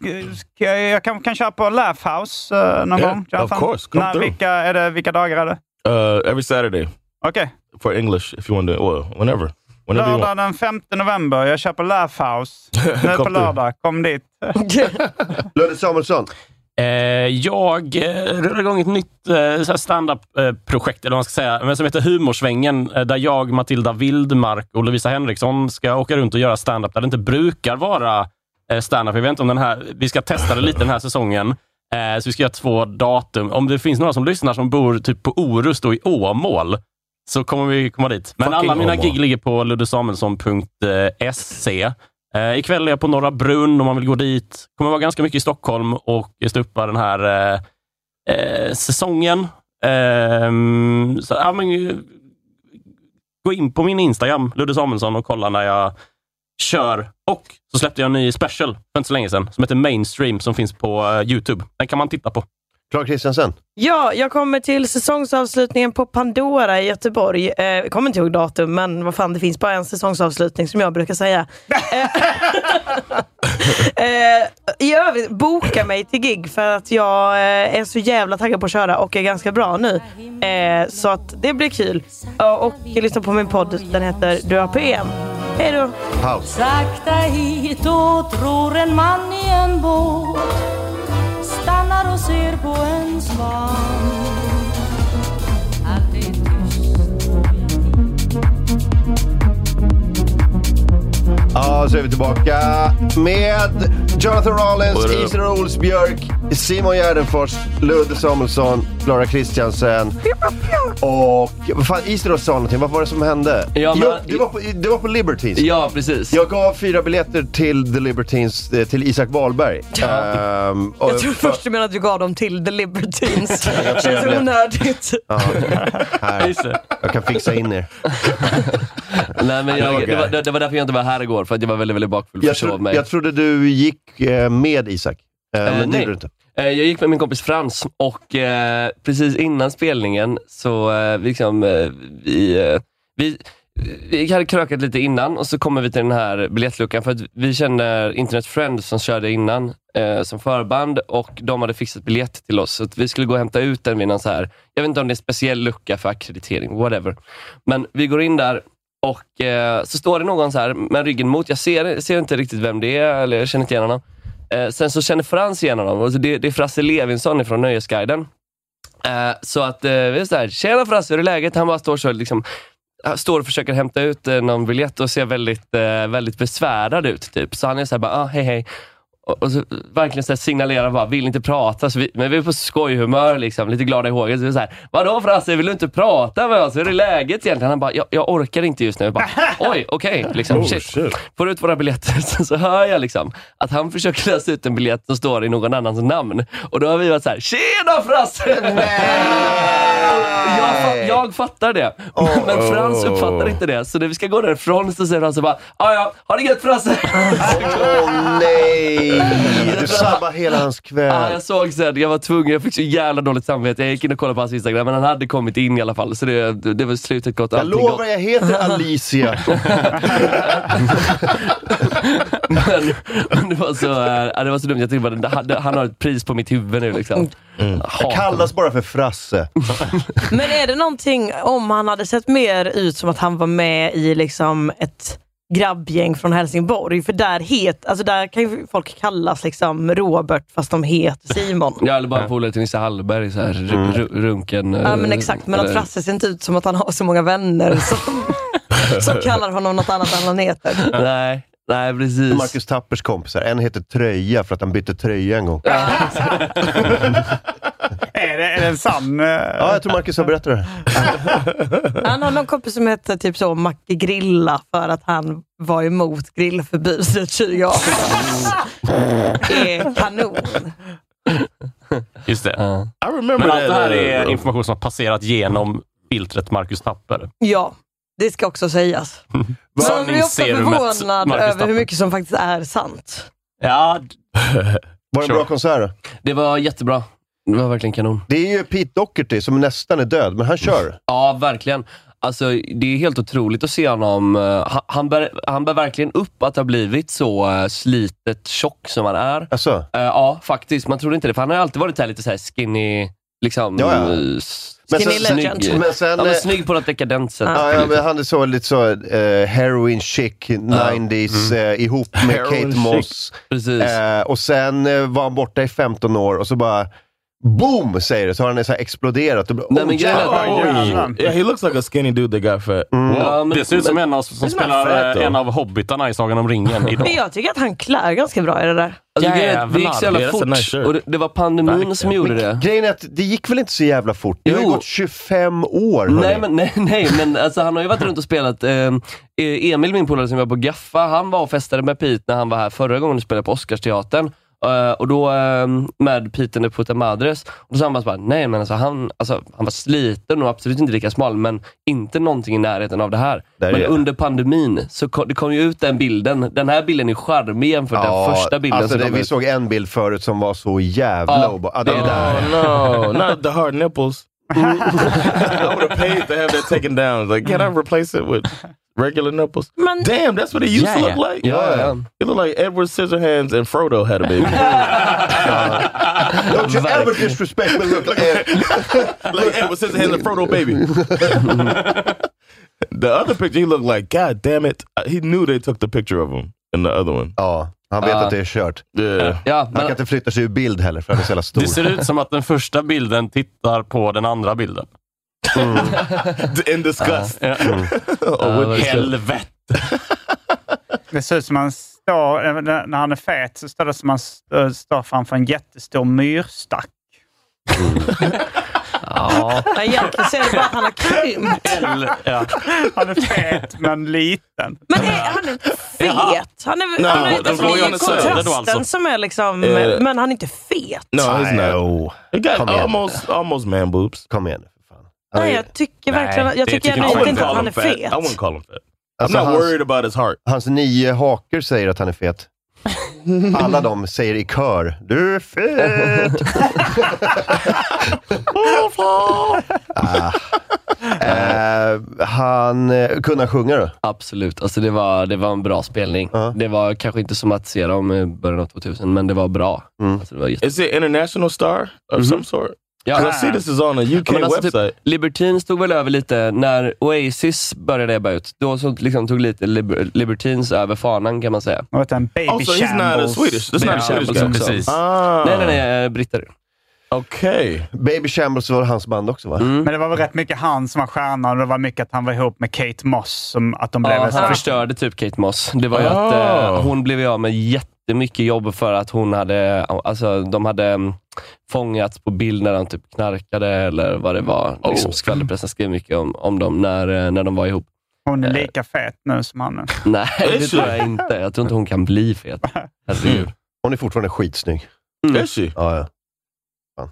jag, jag kan, kan köra på Laugh House eh, någon Yeah, gång. of Jonathan. course. Come När, through. vilka, är det, vilka dagar är det? Uh, every Saturday Okej. for English, if you want to, well, whenever. Whenever you Lördag want. den 5 november. Jag kör på Laugh House. Nu på Kom through. lördag. Kom dit. Ludde Samuelsson. Eh, jag eh, rullar igång ett nytt eh, så här standup-projekt, eller vad man ska säga, men som heter Humorsvängen, eh, där jag, Matilda Wildmark och Lovisa Henriksson ska åka runt och göra standup där det inte brukar vara eh, standup. Jag vet inte om den här, vi ska testa det lite den här säsongen. Eh, så vi ska göra två datum. Om det finns några som lyssnar som bor typ på Orust och i Åmål, så kommer vi komma dit. Men Fucking alla mina Åmål. gig ligger på luddesamuelsson.se. Eh, ikväll är jag på Norra Brunn om man vill gå dit. kommer vara ganska mycket i Stockholm och stå upp den här eh, eh, säsongen. Ehm, så, ja, men, eh, gå in på min Instagram, Ludde Samuelsson, och kolla när jag kör. Och så släppte jag en ny special för inte så länge sedan, som heter Mainstream, som finns på eh, YouTube. Den kan man titta på. Clark Christensen. Ja, jag kommer till säsongsavslutningen på Pandora i Göteborg. Eh, jag kommer inte ihåg datum, men vad fan, det finns bara en säsongsavslutning som jag brukar säga. Eh, eh, I övrigt, boka mig till gig för att jag eh, är så jävla taggad på att köra och är ganska bra nu. Eh, så att det blir kul. Ja, och lyssna på min podd, den heter Du har PM. Hej då! Paus. Sakta hit och tror en man i en båt Stannar och ser på en svan Allt är tyst Ja, så är vi tillbaka med Jonathan Rollins, Hörru. Isidor Olsbjörk, Simon Gärdenfors, Ludde Samuelsson, Clara Christiansen och... Vad fan, Isidor sa någonting. Vad var det som hände? Ja, men- jo, det, var på, det var på Libertines. Ja, precis. Jag gav fyra biljetter till The Libertines, eh, till Isak Wahlberg. Ehm, och- Jag tror först du menar att du gav dem till The Libertines. jag tror Känns jag blev- onödigt. Ja, här. Jag kan fixa in er. Nej, men jag, det, var, Okej. det, det var därför jag inte var här igår, för att jag var väldigt, väldigt bakfull. Jag, försov tro, mig. jag trodde du gick eh, med Isak. Eh, Eh, men det nej. gjorde du inte. Eh, Jag gick med min kompis Frans och eh, precis innan spelningen så eh, liksom, eh, vi, eh, vi, vi hade krökat lite innan och så kommer vi till den här biljettluckan för att vi känner Internet Friends som körde innan eh, som förband och de hade fixat biljett till oss. Så att vi skulle gå och hämta ut den vid någon så här, jag vet inte om det är en speciell lucka för akkreditering, whatever. Men vi går in där och eh, så står det någon så här med ryggen mot. Jag ser, jag ser inte riktigt vem det är, eller jag känner inte igen Alltså, honom. Eh, sen så känner Frans igen honom. Och så det, det är Frasse Levinson från Nöjesguiden. Eh, så att eh, vi är så här, tjena Frasse, hur är läget? Han bara står så liksom, han står och försöker hämta ut eh, någon biljett och ser väldigt, eh, väldigt besvärad ut. Typ. Så han är så här, bara, ah, hej hej. Och, och så verkligen så här signalerar bara, vill inte prata. Så vi, men vi är på skojhumör, liksom, lite glada i hågen. Så vi är så här, vadå Frasse, vill du inte prata med oss? Hur är läget egentligen? Han bara, jag, jag orkar inte just nu. Jag bara, Oj, okej. Liksom, Oh, shit. Får ut våra biljetter, så, så hör jag liksom, att han försöker läsa ut en biljett som står i någon annans namn. Och då har vi varit så här, tjena Frasse! jag, fa- jag fattar det, men Frans uppfattar inte det. Så när vi ska gå därifrån så säger han så bara, ja ja, ha det gött Frasse! Åh nej! Eh, Du sabbar hela hans Ja, kväll. Ah, jag såg sen, jag var tvungen, jag fick så jävla dåligt samvete. Jag gick in och kollade på hans Instagram, men han hade kommit in i alla fall. Så det, det var slutet gott. Jag allting gott. lovar, jag heter Alicia. Men, men det, var så, äh, ja, det var så dumt, jag tänkte bara, det- han- det- han har ett pris på mitt huvud nu liksom. Jag Mm. kallas bara för Frasse. Men är det någonting, om han hade sett mer ut som att han var med i liksom ett grabbgäng från Helsingborg, för där, het, alltså där kan ju folk kallas liksom Robert fast de heter Simon. Jag hade bara en polare till Nisse Hallberg, så här, Mm. ru- ru- runken. Ja eh, men exakt, men att eller- Frasse ser inte ut som att han har så många vänner som, som kallar honom något annat än han heter. Nej, nej precis. Marcus Tappers kompisar, en heter Tröja för att han bytte tröja en gång. Är det, är det en sann... eh, Ja, jag tror Marcus har berättat det. Han har någon kompis som heter typ så Macke Grilla för att han var emot grillförbudet 2018. är kanon. Just det. I remember Men allt that, det här är uh, information som har passerat genom filtret Marcus Tapper. Mm. Ja, det ska också sägas. Man blir ofta Sanningsserumet förvånad Marcus över hur Tapper. mycket som faktiskt är sant. Ja. Var det en bra konsert då? Det var jättebra. Det var verkligen kanon. Det är ju Pete Doherty som nästan är död, men han kör. Ja, verkligen. Alltså, det är helt otroligt att se honom. eh, Han, han, bär, han bär verkligen upp att ha blivit så eh, slitet tjock som han är. Eh, Alltså. Ja, faktiskt. Man trodde inte det, för han har ju alltid varit så här lite så här skinny, liksom, Ja, ja. eh, Men snygg. sen- Snygg. men sen, ja, men eh, snygg på något dekadent sätt. Ja, ja, men han är så lite så eh, heroin chic, 90s, eh, ihop med Mm. Heroin Kate chic. Moss. Precis. Eh, och sen eh, var han borta i 15 år och så bara boom, säger det. Så har han så här exploderat. Och, bara, Nej, oh, men grejen är att- Mm. jävlar. Oj. Yeah, he looks like a skinny dude that got fat. Ja, men- det ser ut som en av, Men som han är fat, spelar though. eh, en av hobbitarna i Sagan om ringen Men idag. jag tycker att han klär ganska bra i det där. Alltså, grejen är att det gick så Jävlar, jävla det är fort så nice shirt. och det, det var pandemin som gjorde det. Grejen är att det gick väl inte så jävla fort? Det har ju Jo. gått 25 år. Nej, hörni. men, nej, nej, men alltså, han har ju varit runt och spelat. Eh, Emil, min polare som var på Gaffa, han var och festade med Pete när han var här förra gången och spelade på Oscarsteatern. Eh, och då eh, med Pete de Puta Madres. Och då sa han bara, så här, nej men alltså han, alltså han var sliten och absolut inte lika smal, men inte någonting i närheten av det här. Där men är det. under pandemin så kom, det kom ju ut den bilden. Den här bilden är charmig jämfört med den första bilden alltså som det, kom vi ut. såg en bild förut som var så jävla Ja, obe- ah, det det- där. Oh, no, not the hard nipples. I would have paid to have that taken down. Like, can I replace it with regular nipples? Men- Damn, that's what it used to look like. Ja, ja. It looked like Edward Scissorhands and Frodo had a baby. Don't you ever disrespect me look like like Edward Scissorhands and Frodo baby. the other picture, he looked like, God damn it, Uh, he knew they took the picture of him in the other one. Uh. Ja, Oh, han vet Ja. att det är kört. Yeah. Ja, Han kan men, inte flytta sig ur bild heller för han är så jävla stor. Det ser ut som att den första bilden tittar på den andra bilden. Mm. In disgust. Ja. Mm. oh, with Helvete! Det ser ut som han står, när han är fet, så står det som han st- står framför en jättestor myrstack. ja. Men egentligen så är det bara att han har krympt. Hel- ja. Han är fet, men liten. Men det, han är fet. Han är, No, han är, den alltså, det var ju är ju en söder då kontrasten alltså. som är liksom... Eh. Men han är inte fet. No, he's Nej, not. oh, He got Come here. almost, almost man boobs. kom igen nu för fan. Han är- Nej, jag tycker Nej, verkligen... Jag det tycker tycker ändå jag inte inte. att han är fat. I fet. wouldn't call him fat. Alltså, I'm not hans- worried about his heart. Hans nio haker säger att han är fet. Alla de säger i kör, du är fet! Ah. eh, han eh, kunde han sjunga då? Absolut. Alltså det, var, det var en bra spelning. Ja. Det var kanske inte som att se dem i början av 2000, men det var bra. Mm. Alltså det var jätte- Is it international star of Mm-hmm. some sort? Ja. 'Cause I see this is on a UK Ja, men alltså website. typ, Libertine stod väl över lite när Oasis började ebba ut. Då så liksom tog lite Liber- Libertines över fanan kan man säga. Och en baby Oh, so he's not a shambles. Swedish. That's not a Yeah, Swedish but guy. some- Precis. Ah. Nej, nej, nej, eh, britter. Okej. Baby Shambles var hans band också va? Mm. Men det var väl rätt mycket han som var stjärnan och det var mycket att han var ihop med Kate Moss. Som att de blev Ja, ett han par. förstörde typ Kate Moss. Det var ju Ah. att eh, hon blev ju av med jättemycket jobb för att hon hade, alltså de hade mm, fångats på bild när han typ knarkade eller vad det var. Liksom, skvallerpressen skrev mycket om, om dem när, eh, när de var ihop. Hon är lika fet nu som han är. Nej, det tror jag inte. Jag tror inte hon kan bli fet. Herregud. Hon är fortfarande skitsnygg. Mm. Is she? Ja, ja.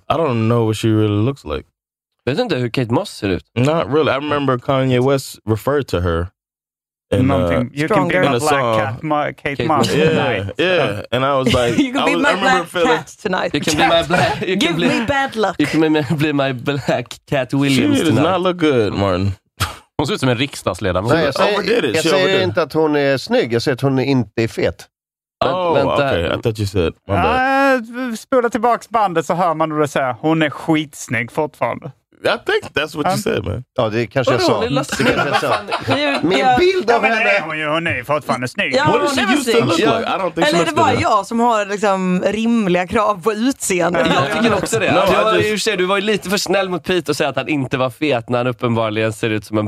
I don't know what she really looks like. Vet du inte hur Kate Moss ser ut? Not really. I remember Kanye West referred to her. In, uh, Någonting. You can be in my a black song. cat, Ma- Kate Moss. Yeah, yeah. And I was like, You can I be was- I my remember black feeling, cat tonight. You can be my black... You Give can bli, me bad luck. you can be, bli my black Cat Williams she does tonight. not look good, Martin. Hon ser ut som en riksdagsledamot. Nej, jag Oh, Overdid säger, it. jag She säger overdid it. inte att hon är snygg, jag säger att hon inte är fet. Oh, vänta. okay. I thought you said. My bad. Ja, Ah, spola tillbaks bandet så hör man hur det säger. Hon är skitsnygg fortfarande. I think that's what you Um, said, man. Ja, det kanske jag Vadå, sa. lilla Det kanske jag sa. Min Ja. bild Ja, av men det är henne... hon ju. Hon är ju fortfarande snygg. Ja, What does hon she är used to snygg. look like? I don't think she Eller looks är det good bara now. jag som har liksom rimliga krav på utseende? Jag tycker också det. No, du, I var, just- i och för sig, du var ju lite för snäll mot Pete och säga att han inte var fet när han uppenbarligen ser ut som en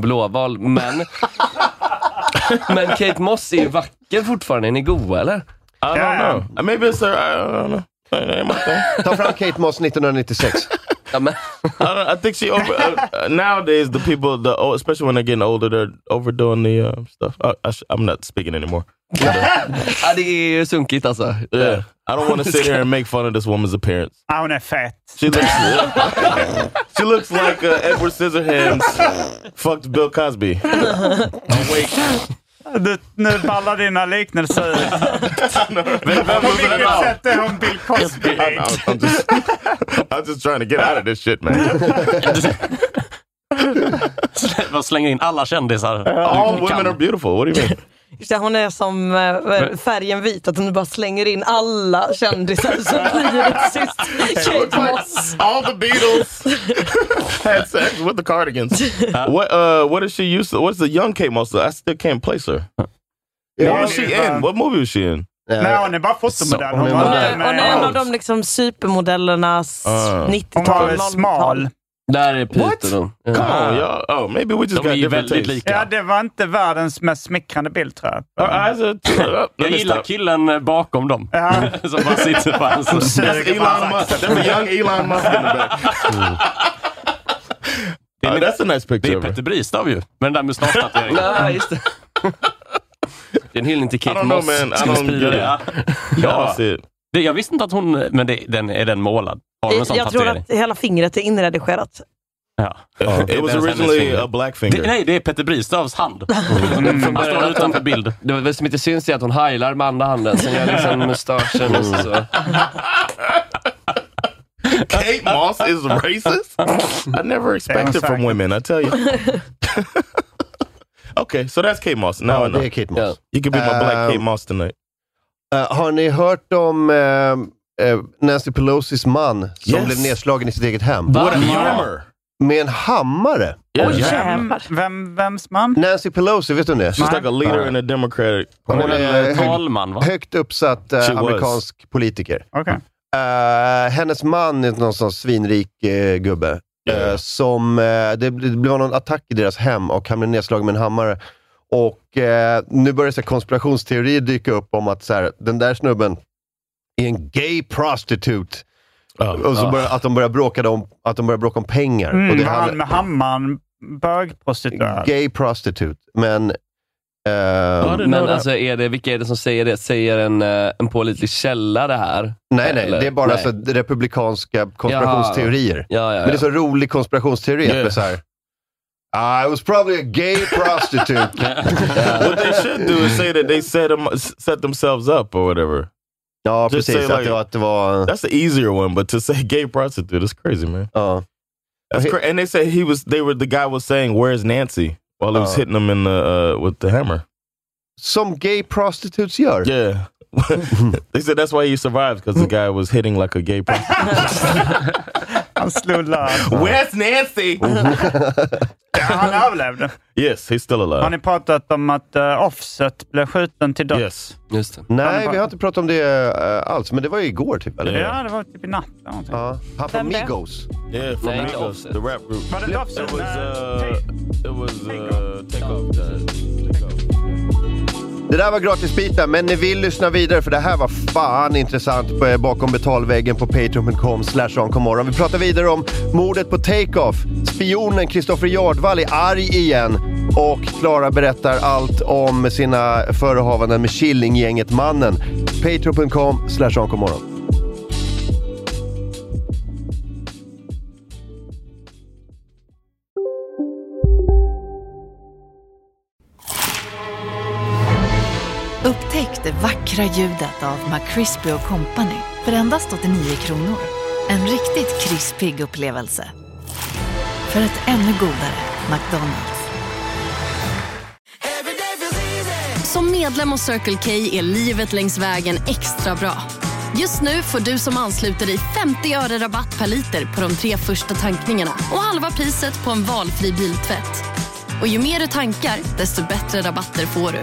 blåval, men... men Kate Moss är ju vacker fortfarande. Är ni goa eller? I don't know. Uh, Maybe it's her. I don't know. That ain't my thing. Ta fram Ah, Kate Moss 1996. Ja, men, I, don't, I think she over uh, uh, nowadays the people the old, especially when they're getting older they're overdoing the uh, stuff. I, I sh I'm not speaking anymore. ja, det är ju sunkigt alltså. Yeah, I don't want to sit here and make fun of this woman's appearance. Ja, Ah, hon är fet. She looks she looks like uh, Edward Scissorhands fucked Bill Cosby. Du, nu ballar dina liknelser ut. På vilket I'm, sätt är hon Bill Cosby? I'm just I'm just trying to get out of this shit, man. Man slänger in alla kändisar. All women are beautiful. What do you mean? Just det, hon är som eh, färgen vit, att hon bara slänger in alla kändisar så blir det till sist Kate Moss. All the Beatles had sex with the Cardigans. what uh what is she used to what's the young Kate Moss? I still can't place her. What was she in? What movie was she in? Nej, hon är bara fotomodell. Hon Så, var hon inte är Hon är en med. av de liksom supermodellernas Ah. Hon var 90-tal, väl smal. 00-tal. Där är Pete och dem. Ja. Come on, y'all. Oh, maybe we just De är got ju different väldigt tastes. lika. Ja, det var inte världens mest smickrande bild tror jag. Our eyes are up. Mm. Jag gillar killen eh, bakom dem. Ja. Som bara sitter på hans... That's Elon Musk. That's a young Elon Musk in the back. Oh, that's a nice Det picture. är of her. Petter Bristav ju, med den där mustaschtatueringen. Nej, just det. Det är en hyllning till I Kate don't know, Moss. man. I som don't sprider get det. it. I Ja. don't see it. Det, jag visste inte att hon... Men det, den, är den målad? Har hon en sån Jag tror tatuering? att hela fingret är inredigerat. Ja. It was That's originally hennes a black Det, finger. nej, det är Petter Bristavs hand. Han står utanför bild. Mm. Det var- det som inte syns är att hon heilar med andra handen, sen gör liksom mustaschen och så. så. Kate Moss is racist? I never expected sorry. from women, I tell you. okay, so that's Oh, Kate Moss. Now I Ja, det know. är Kate Ja. Moss. You could be my black Um, Kate Moss tonight. Eh, har ni hört om eh, eh, Nancy Pelosis man som Yes. blev nedslagen i sitt eget hem? What a hammer! Med en hammare! Yeah. Vem, vem, vems man? Nancy Pelosi, vet du det? She's like a leader in the Democratic Hon Party. är Eh, hög, Talman, va? högt uppsatt eh, She was. amerikansk politiker. Okej. Eh, hennes man är någon sån svinrik eh, gubbe. eh, Yeah. som, eh, det, det blev någon attack i deras hem och han blev nedslagen med en hammare. Och eh, nu börjar så här, konspirationsteorier dyka upp om att så här, den där snubben är en gay prostitute. Oh, Och så oh. börjar, att, de börjar bråka om, att de börjar bråka om pengar. och Mm, det var han handlar- med hammaren bögprostituerad? Gay prostitute. Men... eh, Men alltså, är det, vilka är det som säger det? Säger en, eh, en pålitlig källa det här? nej, nej. Eller? Det är bara Nej. så här, republikanska konspirationsteorier. Ja, ja, Men det är ja. så rolig konspirationsteori. att det är Så här, I was probably a gay prostitute. what they should do is say that they set, them, set themselves up or whatever. ja, Just precis. say Att det var... Att det var That's the uh, easier one, but to say gay prostitute is crazy, man. ja. That's He- cra- and they say he was. They were the guy was saying, "Where's Nancy?" While he was Oh. hitting him in the uh, with the hammer. Som gay prostitutes gör. Yeah, they said that's why he survived because the guy was hitting like a gay person. Han slog lös. Where's Nancy? Ja, han överlevde. Yes, he's still alive. Har ni pratat om att eh, Offset blev skjuten till döds? Yes. Just det. Nej, vi har inte pratat om det eh, alls, men det var ju igår typ, eller? Ja, det var typ i natt. eller någonting. Ja. Han från Vem det? Migos. Yeah, from Thank Migos, you. the rap group. Var det Dofsen? It was, uh, Nej, it was uh, take off. Take off. Det där var gratisbiten, men ni vill lyssna vidare för det här var fan intressant på- eh, bakom betalväggen på patreon.com slash oncommorron. Vi pratar vidare om mordet på Takeoff, spionen Kristoffer Jardvall är arg igen och Klara berättar allt om sina förehavanden med Killinggänget Mannen. Patreon.com slash oncommorron. Upptäck det vackra ljudet av McCrispy Company för endast 89 kronor. En riktigt krispig upplevelse. För ett ännu godare McDonalds. Som medlem hos Circle K är livet längs vägen extra bra. Just nu får du som ansluter dig 50 öre rabatt per liter på de tre första tankningarna och halva priset på en valfri biltvätt. Och ju mer du tankar, desto bättre rabatter får du.